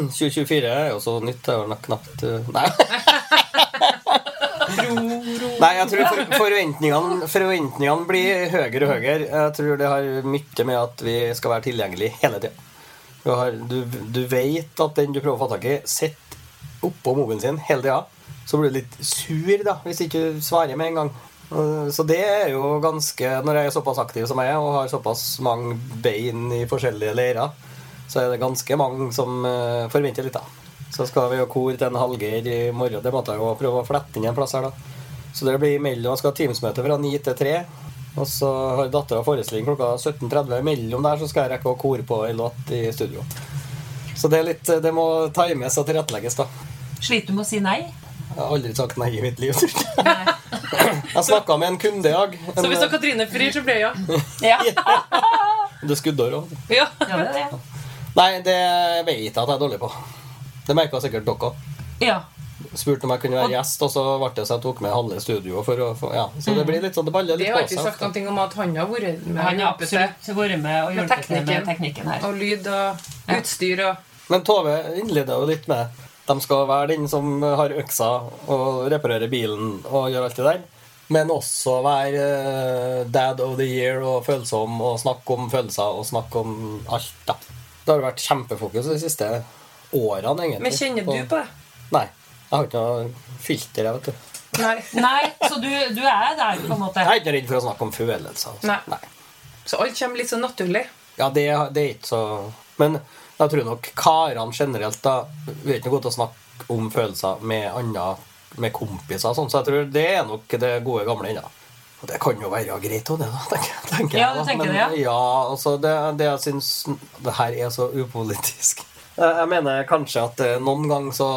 [SPEAKER 2] 2024 er jo så nytt. Det er jo nok knapt eh, Nei. Nei, jeg tror for, forventningene, forventningene blir høyere og høyere. Jeg tror det har mye med at vi skal være tilgjengelige hele tida. Du, har- du, du vet at den du prøver å få tak i, sitter oppå mobilen sin hele tida. Så blir du litt sur da, hvis ikke du svarer med en gang. Eh, Så det er jo ganske Når jeg er såpass aktiv som jeg er, og har såpass mange bein i forskjellige leirer, så er det ganske mange som eh, forventer litt, da. Så skal vi jo kor til en halvgeir i morgen. Det måtte jeg jo prøve å flette inn en plass her, da. Så det blir mellom Jeg skal ha Teams-møte fra 9 til 3. Og så har dattera forestilling klokka 17.30. Mellom der så skal jeg rekke å kore på en låt i studio. Så det er litt Det må times og tilrettelegges, da.
[SPEAKER 3] Sliter du med å si nei?
[SPEAKER 2] Jeg har aldri sagt nei i mitt liv. tror jeg. Jeg snakka med en kunde i dag.
[SPEAKER 1] Så hvis da
[SPEAKER 2] En, eh,
[SPEAKER 1] Katrine frir, så blir det ja.
[SPEAKER 3] Ja.
[SPEAKER 2] det er skuddår også.
[SPEAKER 1] ja.
[SPEAKER 3] Ja, det er det.
[SPEAKER 2] Nei, det vet jeg at jeg er dårlig på. Det merka sikkert dere òg.
[SPEAKER 3] Ja.
[SPEAKER 2] Spurte om jeg kunne være gjest, og så ble det så jeg tok med halve studioet. For å få, ja. Så det blir litt sånn, det baller
[SPEAKER 1] Mm. Det
[SPEAKER 2] litt
[SPEAKER 1] har
[SPEAKER 2] på
[SPEAKER 1] ikke
[SPEAKER 2] seg.
[SPEAKER 1] sagt
[SPEAKER 2] ofte.
[SPEAKER 1] noe om at han har vært med
[SPEAKER 3] Han har
[SPEAKER 1] og hjulpet til.
[SPEAKER 3] absolutt vært med og
[SPEAKER 1] Med
[SPEAKER 3] hjulpet til med
[SPEAKER 1] teknikken.
[SPEAKER 3] teknikken her.
[SPEAKER 1] Og lyd og utstyr og
[SPEAKER 2] Men Tove innleda jo litt med de skal være den som har øksa og reparerer bilen og gjør alt det der. Men også være eh, dad of the year og følsom og snakke om følelser og snakke om alt. da. Det har vært kjempefokus de siste årene, egentlig.
[SPEAKER 1] Men kjenner du på det?
[SPEAKER 2] Nei. Jeg har ikke noe filter, jeg, vet du.
[SPEAKER 1] Nei.
[SPEAKER 3] Nei, så du, du er der på en måte.
[SPEAKER 2] Jeg er ikke redd for å snakke om følelser. altså.
[SPEAKER 1] Nei. Så alt kommer litt så naturlig.
[SPEAKER 2] Ja, det, det er ikke så Men jeg tror nok karene generelt da Vi er ikke gode til å snakke om følelser med andre med kompiser og sånn, så jeg tror det er nok det gode gamle ennå. Og det kan jo være greit òg, det, da, tenker, tenker
[SPEAKER 3] Ja,
[SPEAKER 2] jeg. da.
[SPEAKER 3] du tenker
[SPEAKER 2] Men,
[SPEAKER 3] det,
[SPEAKER 2] ja, altså, det, det jeg syns Det her er så upolitisk. Jeg jeg mener kanskje at eh, noen gang så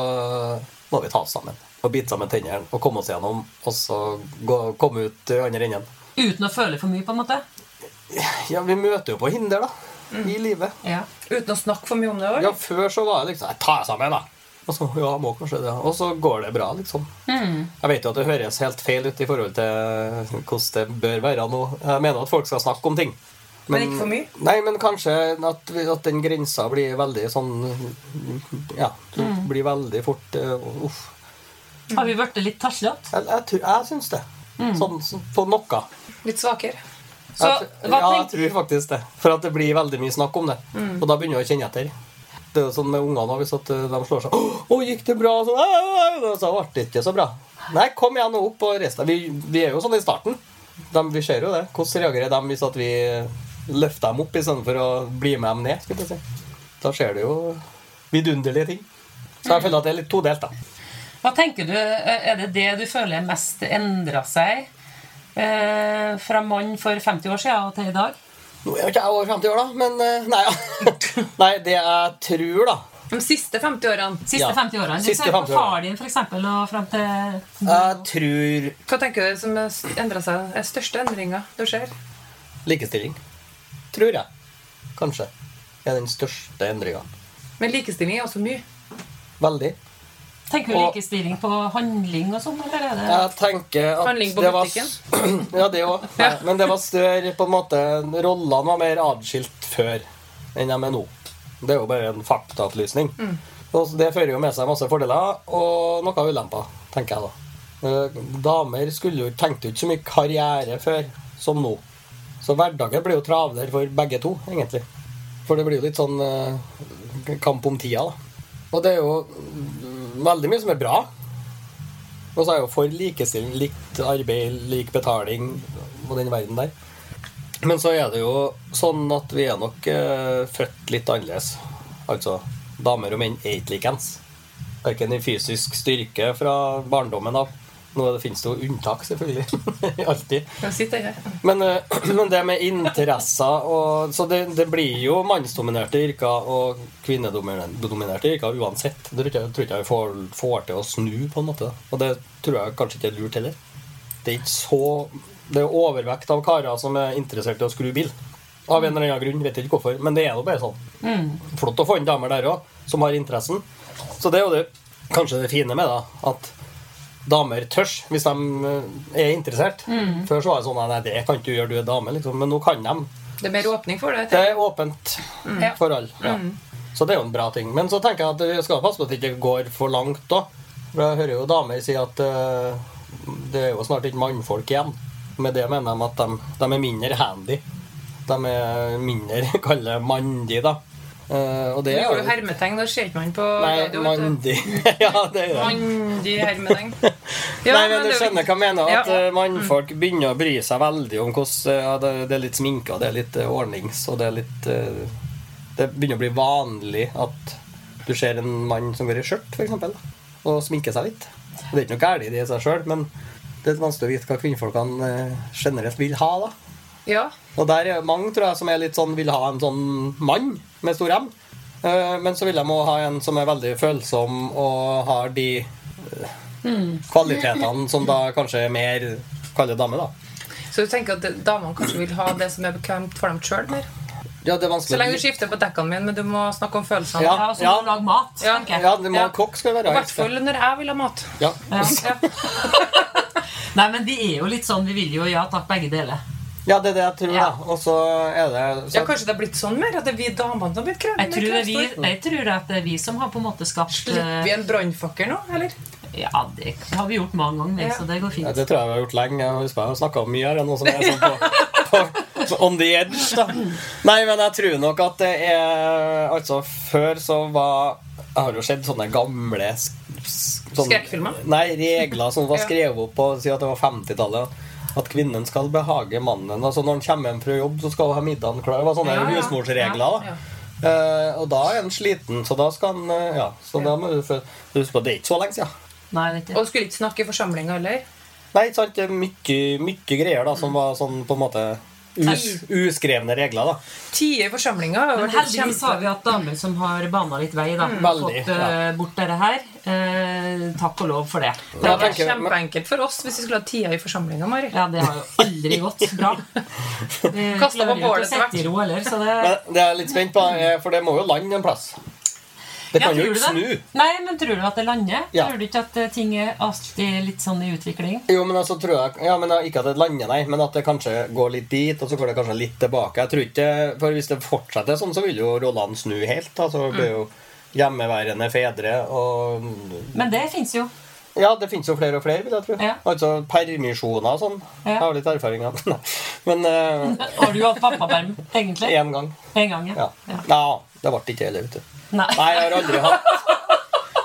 [SPEAKER 2] må vi ta oss sammen og bite sammen tennene og komme oss gjennom, og så gå, komme ut i andre enden.
[SPEAKER 3] Uten å føle for mye, på en måte.
[SPEAKER 2] Ja, vi møter jo på hinder, da.
[SPEAKER 3] Mm.
[SPEAKER 2] I livet.
[SPEAKER 3] Ja.
[SPEAKER 1] Uten å snakke for mye om det. Også.
[SPEAKER 2] Ja, før så var jeg liksom Jeg tar sammen, da. Og så, ja, må kanskje det. Og så går det bra, liksom.
[SPEAKER 1] Mm.
[SPEAKER 2] Jeg vet jo at det høres helt feil ut i forhold til hvordan det bør være nå. Jeg mener at folk skal snakke om ting.
[SPEAKER 1] Men ikke for mye?
[SPEAKER 2] Nei, men kanskje at, vi- at den grensa blir veldig sånn Ja.
[SPEAKER 1] Mm.
[SPEAKER 2] Blir veldig fort eh, Uff.
[SPEAKER 3] Har vi blitt litt taslete?
[SPEAKER 1] Mm.
[SPEAKER 2] Jeg, jeg, tror- jeg syns det. Sånn, sånn på noe.
[SPEAKER 1] Litt svakere. Så
[SPEAKER 2] jeg, tr-
[SPEAKER 1] hva
[SPEAKER 2] ja, jeg
[SPEAKER 1] tenk- Mm.
[SPEAKER 2] tror faktisk det. For at det blir veldig mye snakk om det. Og da begynner jeg å kjenne etter. Det er jo sånn med ungene også, hvis at eh, de slår seg «Åh, 'Å, gikk det bra?' Og sånn, «Au, au», og så ble det ikke så bra. Nei, kom igjen nå opp og reis deg. Vi, vi er jo sånn i starten. De, vi ser jo det. Hvordan reagerer de hvis at vi løfter dem opp istedenfor å bli med dem ned? Skulle jeg si. Da skjer det jo vidunderlige ting. Så jeg føler at det er litt todelt, da.
[SPEAKER 3] Hva tenker du, eh, Er det det du føler mest endra seg eh, fra mann for 50 år siden og til i dag?
[SPEAKER 2] Nå er jo ikke jeg over 50 år, da, men eh, Nei, ja. nei det jeg tror, da
[SPEAKER 1] De siste 50 årene.
[SPEAKER 3] Siste
[SPEAKER 2] Ja.
[SPEAKER 3] 50 årene. Du
[SPEAKER 2] Siste
[SPEAKER 3] ser på
[SPEAKER 2] 50 årene.
[SPEAKER 3] far din, for eksempel, og frem til
[SPEAKER 1] Mhm.
[SPEAKER 2] Jeg tror
[SPEAKER 1] Hva tenker du som endra seg? Er største endringa du ser?
[SPEAKER 2] Likestilling. Tror jeg. Kanskje. Er den største endringa.
[SPEAKER 1] Men likestilling er også mye.
[SPEAKER 2] Veldig.
[SPEAKER 3] Tenker du
[SPEAKER 2] Og-
[SPEAKER 3] likestilling på handling og sånn, eller er det
[SPEAKER 2] Jeg tenker at
[SPEAKER 1] Handling på
[SPEAKER 2] det var Ja, det òg.
[SPEAKER 1] Ja.
[SPEAKER 2] Men det var større på en måte Rollene var mer atskilt før enn de er nå. Det er jo bare en faktaopplysning.
[SPEAKER 1] Mm.
[SPEAKER 2] Og så Det fører jo med seg masse fordeler og noen ulemper, tenker jeg da. Eh, Damer skulle jo tenkte jo ikke så mye karriere før som nå. Så hverdagen blir jo travlere for begge to, egentlig. For det blir jo litt sånn eh, kamp om tida, da. Og det er jo mm, veldig mye som er bra. Og så er jeg jo for likestilling, likt arbeid, lik betaling og den verden der. Men så er det jo sånn at vi er nok eh, født litt annerledes. Altså, damer og menn er ikke likeens. Verken i fysisk styrke fra barndommen av. Nå er det- finnes det jo unntak, selvfølgelig. Alltid.
[SPEAKER 1] Jeg sitter her.
[SPEAKER 2] Men, eh, men det med interesser og Så det, det blir jo mannsdominerte yrker og kvinnedominerte yrker uansett. Det tror ikke jeg- tror ikke jeg vi får, får til å snu, på en måte. Og det tror jeg kanskje ikke er lurt heller. Det er ikke så Det er overvekt av karer som er interessert i å skru bil. Av en eller annen grunn. Vet ikke hvorfor. Men det er jo bare sånn. Flott å få inn damer der òg, som har interessen. Så det er jo det, kanskje det fine med det. At damer tørs hvis de eh, er interessert. Før så var det sånn Nei, det kan ikke du gjøre, du er dame, liksom. Men nå kan de.
[SPEAKER 1] Det er mer åpning for det.
[SPEAKER 2] Det
[SPEAKER 1] tenker jeg.
[SPEAKER 2] er åpent
[SPEAKER 3] Ja.
[SPEAKER 2] for alle. Ja. Så det er jo en bra ting. Men så tenker jeg at vi skal passe på at det ikke går for langt da. For jeg hører jo damer si at eh, det er jo snart ikke mannfolk igjen. Med det mener de at de, de er mindre handy. De er mindre kalle mandige, da. Eh, og det
[SPEAKER 1] Vi
[SPEAKER 2] er
[SPEAKER 1] gjorde jo
[SPEAKER 2] jo
[SPEAKER 1] hermetegn, da ser ikke man på
[SPEAKER 2] Nei,
[SPEAKER 1] radio, vet du.
[SPEAKER 2] mandig. ja, det er det.
[SPEAKER 1] Mandig hermetegn.
[SPEAKER 2] Nei, men Du
[SPEAKER 1] det-
[SPEAKER 2] skjønner hva jeg mener. At
[SPEAKER 1] Ja.
[SPEAKER 2] eh, mannfolk begynner å bry seg veldig om hvordan eh, ja, det, det er litt sminka, det er litt eh, ordnings, og det er litt eh, Det begynner å bli vanlig at du ser en mann som går i skjørt, f.eks., og sminker seg litt. Og Det er ikke noe galt i det i seg sjøl, men det er vanskelig å vite hva kvinnfolkene eh, generelt vil ha. da
[SPEAKER 1] Ja.
[SPEAKER 2] og der er mange tror jeg som er litt sånn vil ha en sånn mann med stor M. Eh, Men så vil de òg ha en som er veldig følsom og har de eh,
[SPEAKER 1] Mm.
[SPEAKER 2] kvalitetene som da kanskje er mer kaller dame, da.
[SPEAKER 1] Så du tenker at damene kanskje vil ha det som er bekvemt for dem sjøl mer?
[SPEAKER 2] Ja, det er
[SPEAKER 1] Så lenge du
[SPEAKER 2] vanskelig.
[SPEAKER 1] skifter på dekkene mine, men du må snakke om følelsene.
[SPEAKER 2] Ja.
[SPEAKER 3] Ja, og så må du lage mat,
[SPEAKER 1] Ja.
[SPEAKER 3] tenker jeg.
[SPEAKER 2] Ja, det må
[SPEAKER 1] Ja.
[SPEAKER 2] kokk skal
[SPEAKER 1] I
[SPEAKER 2] være.
[SPEAKER 1] hvert fall når jeg vil ha mat.
[SPEAKER 2] Ja.
[SPEAKER 1] Ja.
[SPEAKER 3] Nei, men vi er jo litt sånn, vi vil jo ja takk, begge deler.
[SPEAKER 2] ja, det er det jeg tror,
[SPEAKER 3] Ja.
[SPEAKER 2] da. Og så er det
[SPEAKER 1] Ja,
[SPEAKER 2] så,
[SPEAKER 1] kanskje det har blitt sånn mer at det er vi damene som har blitt krevende?
[SPEAKER 3] Jeg tror, det er vi, jeg tror at det er vi som har på en måte skapt
[SPEAKER 1] Slipper vi
[SPEAKER 3] eh,
[SPEAKER 1] en brannfakkel nå, eller?
[SPEAKER 3] Ja, det har vi gjort mange ganger,
[SPEAKER 1] Ja.
[SPEAKER 3] så det går
[SPEAKER 2] ja,
[SPEAKER 3] fint.
[SPEAKER 2] Det tror jeg vi har gjort lenge. Jeg husker jeg har snakka mye her. er det Noe som er sånn på, på så on the edge, da. Nei, men jeg tror nok at det er Altså, før så var Jeg har jo sett sånne gamle sk- s- sånne-
[SPEAKER 1] Skrekkfilmer?
[SPEAKER 2] Nei, regler som var
[SPEAKER 1] Ja.
[SPEAKER 2] skrevet opp på si at det var 50-tallet. At kvinnen skal behage mannen. Altså Når han kommer hjem fra jobb, så skal hun ha middagen klar. Det var sånne
[SPEAKER 1] Ja, ja. Ja,
[SPEAKER 2] husmorsregler.
[SPEAKER 1] ja.
[SPEAKER 2] da Eh, og da er han sliten, så da skal han eh, Ja, så da må du fø- huske på at det er ikke så lenge siden.
[SPEAKER 3] Nei, vet du.
[SPEAKER 1] Og skulle ikke snakke i forsamlinga heller.
[SPEAKER 2] Nei, ikke sant? Det er mye, mye greier da som var sånn på en måte us uskrevne regler, da.
[SPEAKER 1] Tider i forsamlinga har jo
[SPEAKER 3] Men
[SPEAKER 1] vært kjempe-
[SPEAKER 3] heldigvis
[SPEAKER 1] Mm.
[SPEAKER 3] har vi hatt damer som har bana litt vei, da.
[SPEAKER 2] veldig,
[SPEAKER 3] fått eh, bort dette her. Eh, takk og lov for det.
[SPEAKER 1] Det hadde
[SPEAKER 2] Jeg
[SPEAKER 1] vært
[SPEAKER 2] tenker-
[SPEAKER 1] kjempeenkelt for oss hvis vi skulle ha tider i forsamlinga, Mari.
[SPEAKER 3] Ja, det har jo aldri gått bra. Vi
[SPEAKER 1] Kastet på
[SPEAKER 3] klarer jo ikke å
[SPEAKER 1] bålet etter
[SPEAKER 3] sette i ro heller, så det
[SPEAKER 2] Men det er jeg litt spent på, eh, for det må jo lande en plass. Det
[SPEAKER 3] Ja,
[SPEAKER 2] kan jo
[SPEAKER 3] tror du
[SPEAKER 2] ikke snu.
[SPEAKER 3] det? Nei, men tror du at det lander?
[SPEAKER 2] Ja.
[SPEAKER 3] Tror du ikke at eh, ting er alltid litt sånn i utvikling?
[SPEAKER 2] Jo, men altså tror jeg Ja, men Ikke at det lander, nei, men at det kanskje går litt dit, og så går det kanskje litt tilbake. Jeg tror ikke, for Hvis det fortsetter sånn, så vil jo rollene snu helt. Altså, det blir jo hjemmeværende fedre og
[SPEAKER 3] Men det fins jo.
[SPEAKER 2] Ja, det finnes jo flere og flere, vil jeg tro.
[SPEAKER 3] Ja.
[SPEAKER 2] Altså permisjoner og sånn. Jeg
[SPEAKER 3] Ja.
[SPEAKER 2] har litt erfaring av det. Men eh,
[SPEAKER 3] Har du hatt pappaperm, egentlig?
[SPEAKER 2] én gang.
[SPEAKER 3] En gang,
[SPEAKER 2] Ja.
[SPEAKER 3] ja. ja.
[SPEAKER 2] ja. Det ble ikke heller, vet du.
[SPEAKER 3] Nei.
[SPEAKER 2] Nei, jeg har aldri hatt,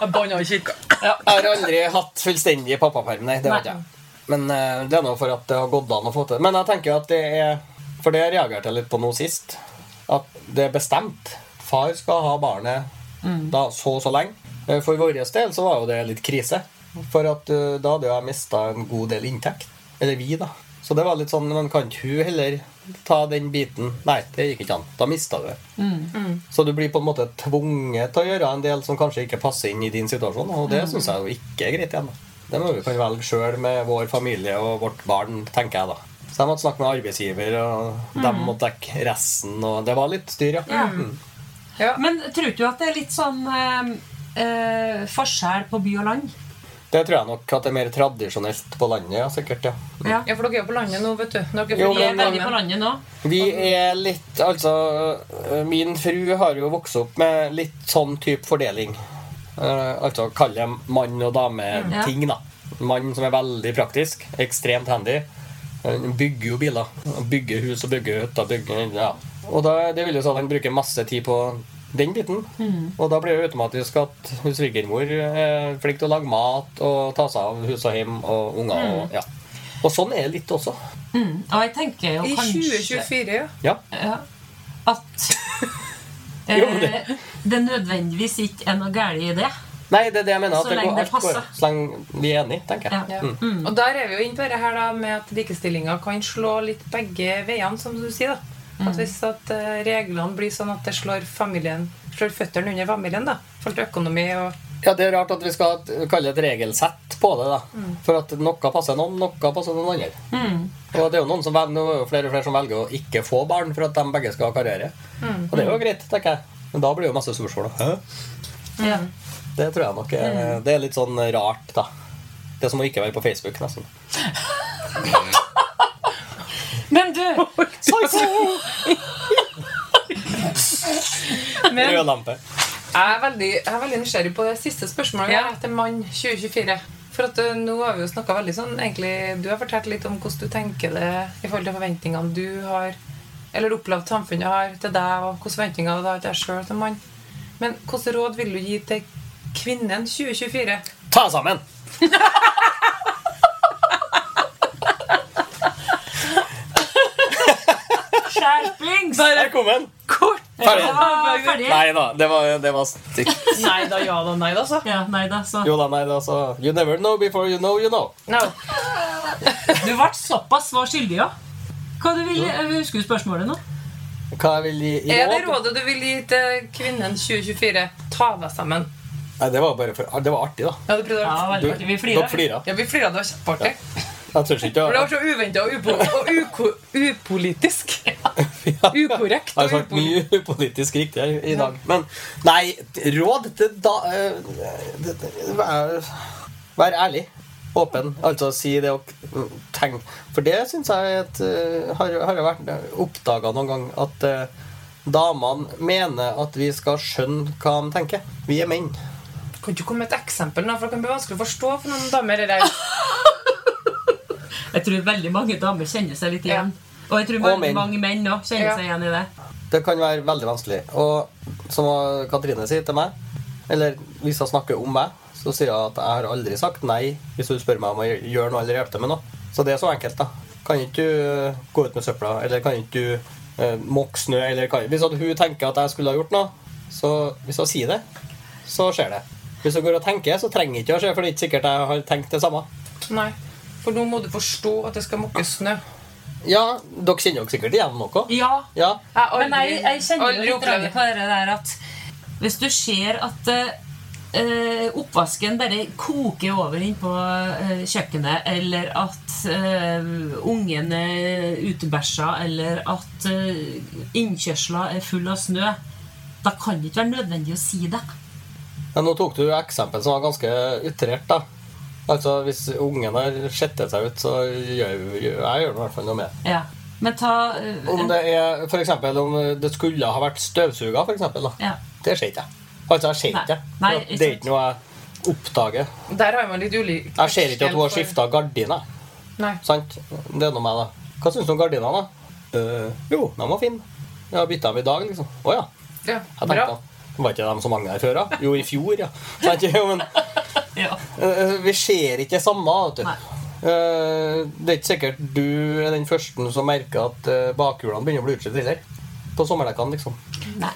[SPEAKER 1] Jeg banna i kirka.
[SPEAKER 2] jeg har aldri hatt fullstendig pappaperm, nei. Det har ikke jeg. Men eh, det er nå for at det har gått an å få til. Men jeg tenker at det er For det reagerte jeg litt på nå sist. At det er bestemt. Far skal ha barnet da så og så lenge. Eh, For vår del så var jo det litt krise. For at eh, da hadde jo jeg mista en god del inntekt. Eller vi, da. Så det var litt sånn Men kan ikke hun heller ta den biten? Nei, det gikk ikke an. Da mista du det. Så du blir på en måte tvunget til å gjøre en del som kanskje ikke passer inn i din situasjon, og det syns jeg jo ikke er greit igjen. da. Det må vi kunne velge sjøl med vår familie og vårt barn, tenker jeg da. Så jeg måtte snakke med arbeidsgiver, og de måtte dekke resten, og det var litt styr, ja.
[SPEAKER 3] Ja.
[SPEAKER 2] Mm.
[SPEAKER 3] Men tror du at det er litt sånn eh, eh, forskjell på by og land?
[SPEAKER 2] Det tror jeg nok at det er mer tradisjonelt på landet, ja, sikkert, ja.
[SPEAKER 3] Ja.
[SPEAKER 1] Ja, for dere er jo på landet nå, vet du. Dere er
[SPEAKER 2] Jo,
[SPEAKER 1] fri
[SPEAKER 3] Vi er
[SPEAKER 2] men-
[SPEAKER 1] i
[SPEAKER 3] veldig på
[SPEAKER 1] landet.
[SPEAKER 3] landet nå.
[SPEAKER 2] Vi er litt Altså, min fru har jo vokst opp med litt sånn type fordeling. Eh, altså kalle det mann og dame-ting, da. Mann som er veldig praktisk. Ekstremt handy. Han bygger jo biler. Han Bygger hus og bygger hytter. Bygger, ja. Og da, det vil jo si at han bruker masse tid på den biten. Og da blir det automatisk at hun svigermor er flink til å lage mat og ta seg av hus og hjem og unger. Og, ja. og sånn er det litt også.
[SPEAKER 3] Mm. Og jeg tenker jo
[SPEAKER 1] I
[SPEAKER 3] kanskje
[SPEAKER 1] 2024, ja.
[SPEAKER 2] Ja.
[SPEAKER 3] ja, at
[SPEAKER 2] Jo, men det-
[SPEAKER 3] eh, det nødvendigvis ikke er noe galt i det.
[SPEAKER 2] Nei, det er det jeg mener. At
[SPEAKER 3] Så
[SPEAKER 2] det
[SPEAKER 3] lenge
[SPEAKER 2] går,
[SPEAKER 3] det
[SPEAKER 2] alt går,
[SPEAKER 3] passer.
[SPEAKER 2] så lenge vi er enige, tenker jeg.
[SPEAKER 1] Ja. Mm.
[SPEAKER 3] Ja.
[SPEAKER 1] Og der er vi jo inne på det her da, med at likestillinga kan slå litt begge veiene, som du sier. da. At Hvis at eh, reglene blir sånn at det slår familien, slår føttene under familien, da, i forhold til økonomi og
[SPEAKER 2] Ja, Det er rart at vi skal ha- kalle det et regelsett på det. da.
[SPEAKER 3] Mm.
[SPEAKER 2] For at noe passer noen, noe passer noen andre. Og det er jo noen som velger, nå er jo flere og flere som velger å ikke få barn for at de begge skal ha karriere.
[SPEAKER 3] Mm.
[SPEAKER 2] Og det er jo greit, tenker jeg. Men da blir det jo masse spørsmål. da. Hæ?
[SPEAKER 3] Ja. Mm.
[SPEAKER 2] Det tror jeg nok er, det er litt sånn rart, da. Det er som å ikke være på Facebook, nesten.
[SPEAKER 3] Men du,
[SPEAKER 1] Men
[SPEAKER 2] Rød lampe.
[SPEAKER 1] Jeg er veldig, jeg er veldig nysgjerrig på det siste spørsmålet
[SPEAKER 3] Ja.
[SPEAKER 1] ja. til mann 2024. For at ø, nå har vi jo snakket veldig sånn egentlig, Du har fortalt litt om hvordan du tenker det i forhold til forventningene du har, eller opplevd samfunnet har til deg, og hvilke forventninger du har til deg sjøl som mann. Men hvilke råd vil du gi til kvinnen 2024?
[SPEAKER 2] Ta deg sammen!
[SPEAKER 3] skjerpings!
[SPEAKER 2] Velkommen!
[SPEAKER 1] Kort!
[SPEAKER 2] Ferdig.
[SPEAKER 3] Ja, ferdig.
[SPEAKER 2] Nei da, det var, det var stygt.
[SPEAKER 1] Nei da, ja da, nei da, altså. så.
[SPEAKER 3] Ja, nei da, så.
[SPEAKER 2] Jo da, nei, det er altså You never know before you know you know.
[SPEAKER 1] No.
[SPEAKER 3] Du ble såpass svar skyldig, ja. Hva du vil, jeg husker du spørsmålet nå?
[SPEAKER 2] Hva jeg vil gi i
[SPEAKER 1] Er det
[SPEAKER 2] råd?
[SPEAKER 1] rådet du vil gi til kvinnen 2024? Ta deg sammen.
[SPEAKER 2] Nei, det var bare for Det var artig, da.
[SPEAKER 1] Ja, du prøvde å
[SPEAKER 3] Ja, veldig artig. Vi
[SPEAKER 2] Dere
[SPEAKER 3] flirer.
[SPEAKER 2] flirer.
[SPEAKER 1] ja, vi flira, det var kjempeartig.
[SPEAKER 2] Jeg tør ikke å
[SPEAKER 1] For det var så uventa og, upo og uko upolitisk.
[SPEAKER 2] Ja.
[SPEAKER 1] Ukorrekt
[SPEAKER 2] Jeg har
[SPEAKER 1] og
[SPEAKER 2] sagt
[SPEAKER 1] upolitisk.
[SPEAKER 2] mye politisk riktig her i dag. Men nei, råd til da eh, det- det- Vær vær ærlig. Åpen. Altså si det og mm, tenk. For det syns jeg at, eh, har, har jeg vært oppdaga noen gang at eh, damene mener at vi skal skjønne hva de tenker. Vi er menn.
[SPEAKER 1] Kan du komme med et eksempel, nå, for det kan bli vanskelig å forstå for noen damer. det der.
[SPEAKER 3] Jeg tror veldig mange damer kjenner seg litt igjen. Og jeg tror
[SPEAKER 2] Og
[SPEAKER 3] veldig
[SPEAKER 2] menn.
[SPEAKER 3] mange menn også kjenner
[SPEAKER 1] Ja.
[SPEAKER 3] seg igjen i det.
[SPEAKER 2] Det kan være veldig vanskelig. Og som Katrine sier til meg, eller hvis hun snakker om meg, så sier hun at jeg har aldri sagt nei hvis hun spør meg om å gjøre noe eller hjelpe til med noe. Så det er så enkelt, da. Kan ikke du eh, gå ut med søpla, eller kan ikke du eh, måke snø, eller kan Hvis at hun tenker at jeg skulle ha gjort noe, så hvis hun sier det, så skjer det. Hvis hun går og tenker, så trenger ikke å skje, for det er ikke sikkert jeg har tenkt det samme.
[SPEAKER 1] Nei. For nå må du forstå at det skal måkes snø.
[SPEAKER 2] Ja, dere kjenner dere sikkert igjen noe.
[SPEAKER 3] Ja,
[SPEAKER 2] Ja.
[SPEAKER 1] Jeg har
[SPEAKER 3] Men jeg, jeg kjenner
[SPEAKER 1] aldri
[SPEAKER 3] jo litt
[SPEAKER 1] opplevd
[SPEAKER 3] rart på det der at hvis du ser at eh, eh, oppvasken bare koker over inn på eh, kjøkkenet, eller at eh, ungen er utebæsja, eller at eh, innkjørsla er full av snø, da kan det ikke være nødvendig å si det.
[SPEAKER 2] Ja, nå tok du jo eksempel som var ganske utrert, da. Altså, Hvis ungen har skjettet seg ut, så gjør gjør- jeg gjør i hvert fall noe med det.
[SPEAKER 3] Ja. Men ta eh,
[SPEAKER 2] Om det er for eksempel, om det skulle ha vært støvsuga, for eksempel, da.
[SPEAKER 3] Ja.
[SPEAKER 2] Det ser ikke jeg. Altså, jeg ser
[SPEAKER 3] Nei.
[SPEAKER 2] ikke.
[SPEAKER 3] Nei,
[SPEAKER 2] det.
[SPEAKER 3] ikke
[SPEAKER 2] det er
[SPEAKER 3] sant.
[SPEAKER 2] ikke noe jeg Oppdage.
[SPEAKER 1] Der har man litt ulik
[SPEAKER 2] Jeg ser ikke at hun har
[SPEAKER 1] terskel
[SPEAKER 2] skifta gardiner.
[SPEAKER 1] for- Nei.
[SPEAKER 2] Sant? Det er noe med det. Hva syns du om gardinene? da? Eh, jo, de var fine. Jeg har bytta dem i dag, liksom. Å ja.
[SPEAKER 1] Ja,
[SPEAKER 2] Jeg
[SPEAKER 1] bra.
[SPEAKER 2] tenkte, Var ikke de så mange her før, da? Jo, i fjor, ja. Sant? Jo, men,
[SPEAKER 3] Ja.
[SPEAKER 2] eh, vi ser ikke det samme, vet du.
[SPEAKER 3] Nei.
[SPEAKER 2] Eh, det er ikke sikkert du er den første som merker at eh, bakhjulene begynner å bli utslitt heller. På sommerdekkene, liksom.
[SPEAKER 3] Nei.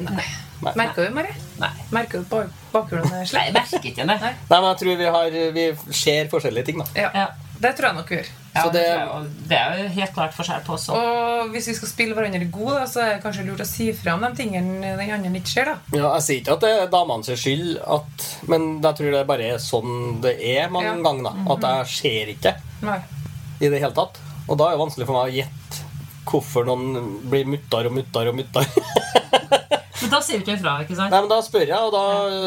[SPEAKER 1] Nei.
[SPEAKER 2] Nei.
[SPEAKER 1] Merker du, Mari?
[SPEAKER 3] Nei.
[SPEAKER 1] Merker du at bak- bakhjulene er
[SPEAKER 3] Nei,
[SPEAKER 1] slett?
[SPEAKER 3] jeg merker ikke det.
[SPEAKER 1] Nei.
[SPEAKER 2] Nei, men jeg tror vi, har, eh, vi ser forskjellige ting, da.
[SPEAKER 1] Ja.
[SPEAKER 3] Ja.
[SPEAKER 1] Det tror jeg nok vi gjør.
[SPEAKER 3] Ja,
[SPEAKER 2] Så
[SPEAKER 3] det,
[SPEAKER 2] det-
[SPEAKER 3] tror jeg jo- det er jo helt klart forskjell på oss også.
[SPEAKER 1] Og hvis vi skal spille hverandre gode, da, så er det kanskje lurt å si fra om de tingene den andre ikke ser. da.
[SPEAKER 2] Ja, jeg sier ikke at det er damenes skyld, at, men jeg tror det bare er sånn det er mange
[SPEAKER 1] Ja.
[SPEAKER 2] ganger. da, At jeg ser ikke
[SPEAKER 1] Nei.
[SPEAKER 2] i det hele tatt. Og da er det vanskelig for meg å gjette hvorfor noen blir muttar og muttar og muttar.
[SPEAKER 3] Men da sier vi ikke ifra, ikke sant?
[SPEAKER 2] Nei, men da spør jeg, og da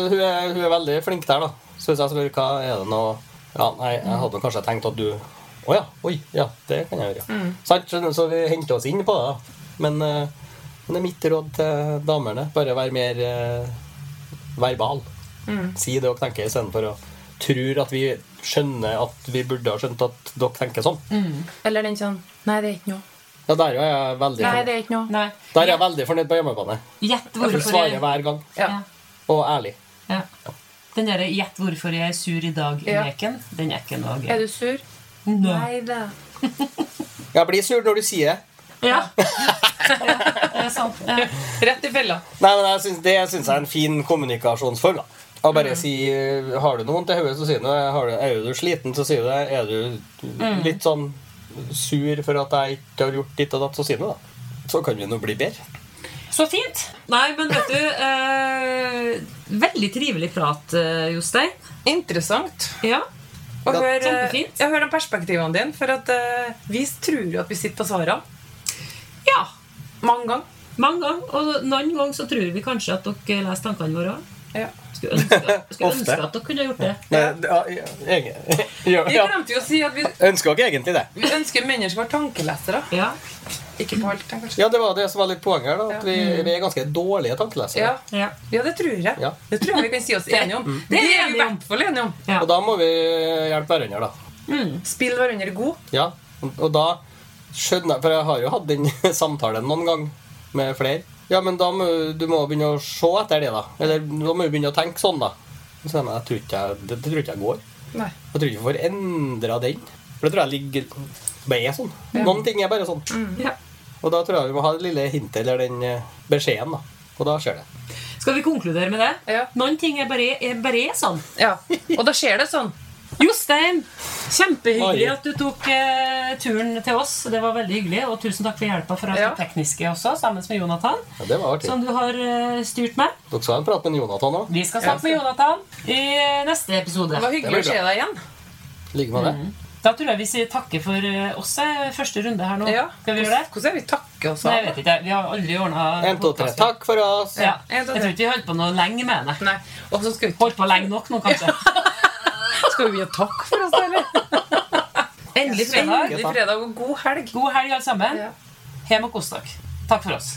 [SPEAKER 2] hun er, hun er veldig flink der, da. Så hvis jeg spør hva er det noe Ja, nei, jeg hadde kanskje tenkt at du Å ja. Oi. Ja, det kan jeg gjøre. ja.
[SPEAKER 1] Mm.
[SPEAKER 2] Sant? Så, så vi henter oss inn på det, da. Men, eh, men det er mitt råd til damene. Bare vær mer eh, verbal.
[SPEAKER 1] Mm.
[SPEAKER 2] Si det dere tenker, istedenfor å tror at vi skjønner at vi burde ha skjønt at dere tenker sånn.
[SPEAKER 1] Mm. Eller den sånn Nei, det er ikke noe.
[SPEAKER 2] Ja, der er jeg veldig
[SPEAKER 1] Nei,
[SPEAKER 2] fornøyd.
[SPEAKER 1] det er ikke noe.
[SPEAKER 3] Nei.
[SPEAKER 2] Der er jeg veldig fornøyd på hjemmebane.
[SPEAKER 3] Gjett
[SPEAKER 2] Jeg
[SPEAKER 3] hvorfor
[SPEAKER 2] svarer
[SPEAKER 3] jeg
[SPEAKER 2] hver gang.
[SPEAKER 1] Ja.
[SPEAKER 2] Og ærlig.
[SPEAKER 3] ja. Den derre 'gjett hvorfor jeg er sur i dag'-leken, den er ikke noe
[SPEAKER 1] Er
[SPEAKER 3] grei.
[SPEAKER 1] du sur?
[SPEAKER 3] Nei.
[SPEAKER 1] Nei da.
[SPEAKER 2] Jeg blir sur når du sier det.
[SPEAKER 3] Ja. ja. Det er sant. Ja.
[SPEAKER 1] Rett i fella.
[SPEAKER 2] Nei, men jeg synes, Det syns jeg er en fin kommunikasjonsform. da Å bare si eh, 'Har du noe vondt i hodet?' så sier du det. Har du, 'Er du sliten?' så sier du det. Er du litt sånn sur for at jeg ikke har gjort ditt og datt, så sier du det. da. Så kan vi nå bli bedre.
[SPEAKER 3] Så fint. Nei, men vet du eh, Veldig trivelig prat, eh, Jostein.
[SPEAKER 1] Interessant.
[SPEAKER 3] Ja.
[SPEAKER 1] Å
[SPEAKER 2] Ja,
[SPEAKER 1] høre,
[SPEAKER 3] kjempefint.
[SPEAKER 1] ja, høre eh, om perspektivene dine. For at eh, vi tror jo at vi sitter på svarene
[SPEAKER 3] ja.
[SPEAKER 1] mange ganger.
[SPEAKER 3] Mange ganger. Og noen ganger så tror vi kanskje at dere leser tankene våre òg.
[SPEAKER 1] Ja.
[SPEAKER 3] Skulle, ønske,
[SPEAKER 2] Ofte.
[SPEAKER 3] skulle ønske at dere kunne gjort det.
[SPEAKER 2] Nei, det- ja, ja, egen- ja,
[SPEAKER 1] Vi
[SPEAKER 2] ja.
[SPEAKER 1] glemte jo å si at vi,
[SPEAKER 2] Ønsker dere egentlig det?
[SPEAKER 1] vi ønsker mennesker var tankelesere.
[SPEAKER 3] Ja.
[SPEAKER 1] Ikke på alt, kanskje.
[SPEAKER 2] Ja, det var det som var litt poenget her. da At vi, vi er ganske dårlige tankelesere.
[SPEAKER 1] Ja.
[SPEAKER 3] ja.
[SPEAKER 1] ja, det tror jeg.
[SPEAKER 2] Ja.
[SPEAKER 1] Det tror jeg vi kan si oss enige om.
[SPEAKER 3] Det
[SPEAKER 1] Det
[SPEAKER 3] er
[SPEAKER 1] er vi i
[SPEAKER 3] enige om.
[SPEAKER 1] hvert fall enige om.
[SPEAKER 3] ja.
[SPEAKER 2] Og da må vi hjelpe hverandre, da.
[SPEAKER 1] Spill hverandre god.
[SPEAKER 2] Ja, og- og da skjønner jeg For jeg har jo hatt den samtalen noen gang med flere. Ja, men da må du må begynne å se etter det, da. Eller da må du begynne å tenke sånn, da. Så sier jeg, «Nei, jeg tror ikke jeg, det, det tror ikke jeg går.
[SPEAKER 1] Nei.
[SPEAKER 2] Jeg tror ikke vi får endra den. For det tror jeg ligger bare er sånn. Noen ting er bare sånn.
[SPEAKER 3] ja.
[SPEAKER 2] Og da tror jeg vi må ha det lille hintet eller den eh, beskjeden, da. Og da skjer det.
[SPEAKER 3] Skal vi konkludere med det?
[SPEAKER 1] Ja.
[SPEAKER 3] Noen ting er bare, er bare sånn.
[SPEAKER 1] Ja. Og da skjer det sånn.
[SPEAKER 3] Jostein, kjempehyggelig
[SPEAKER 2] Oi.
[SPEAKER 3] at du tok eh, turen til oss. Det var veldig hyggelig, Og tusen takk for hjelpa fra
[SPEAKER 1] Ja.
[SPEAKER 3] det tekniske også, sammen med Jonathan.
[SPEAKER 2] Ja, det var artig.
[SPEAKER 3] Som du har eh, styrt med.
[SPEAKER 2] Dere skal ha en prat med Jonathan òg.
[SPEAKER 3] Vi skal snakke med Jonathan i eh, neste episode.
[SPEAKER 1] Det var
[SPEAKER 2] Det blir
[SPEAKER 1] hyggelig å se
[SPEAKER 2] bra.
[SPEAKER 1] deg igjen.
[SPEAKER 2] Ligger med det.
[SPEAKER 3] Da tror jeg vi sier takke for eh, oss eh, første runde her nå.
[SPEAKER 1] Ja.
[SPEAKER 3] Skal vi gjøre det?
[SPEAKER 1] Hvordan er vi takke oss
[SPEAKER 3] Nei, jeg
[SPEAKER 1] av?
[SPEAKER 3] vet ikke. Vi har aldri ordna
[SPEAKER 2] En, to, tre. Takk for oss.
[SPEAKER 3] Ja.
[SPEAKER 1] En,
[SPEAKER 3] Jeg
[SPEAKER 1] to,
[SPEAKER 3] tror
[SPEAKER 1] tre.
[SPEAKER 3] ikke vi holdt på noe lenge med det.
[SPEAKER 1] Nei. Og så skal vi,
[SPEAKER 3] Holdt på lenge nok nå, kanskje.
[SPEAKER 1] skal vi gi takk for oss, da, eller?
[SPEAKER 3] Endelig fredag.
[SPEAKER 1] Endelig fredag og god helg.
[SPEAKER 3] God helg, alle sammen.
[SPEAKER 1] Ja.
[SPEAKER 3] Hjem og kos dere. Takk for oss.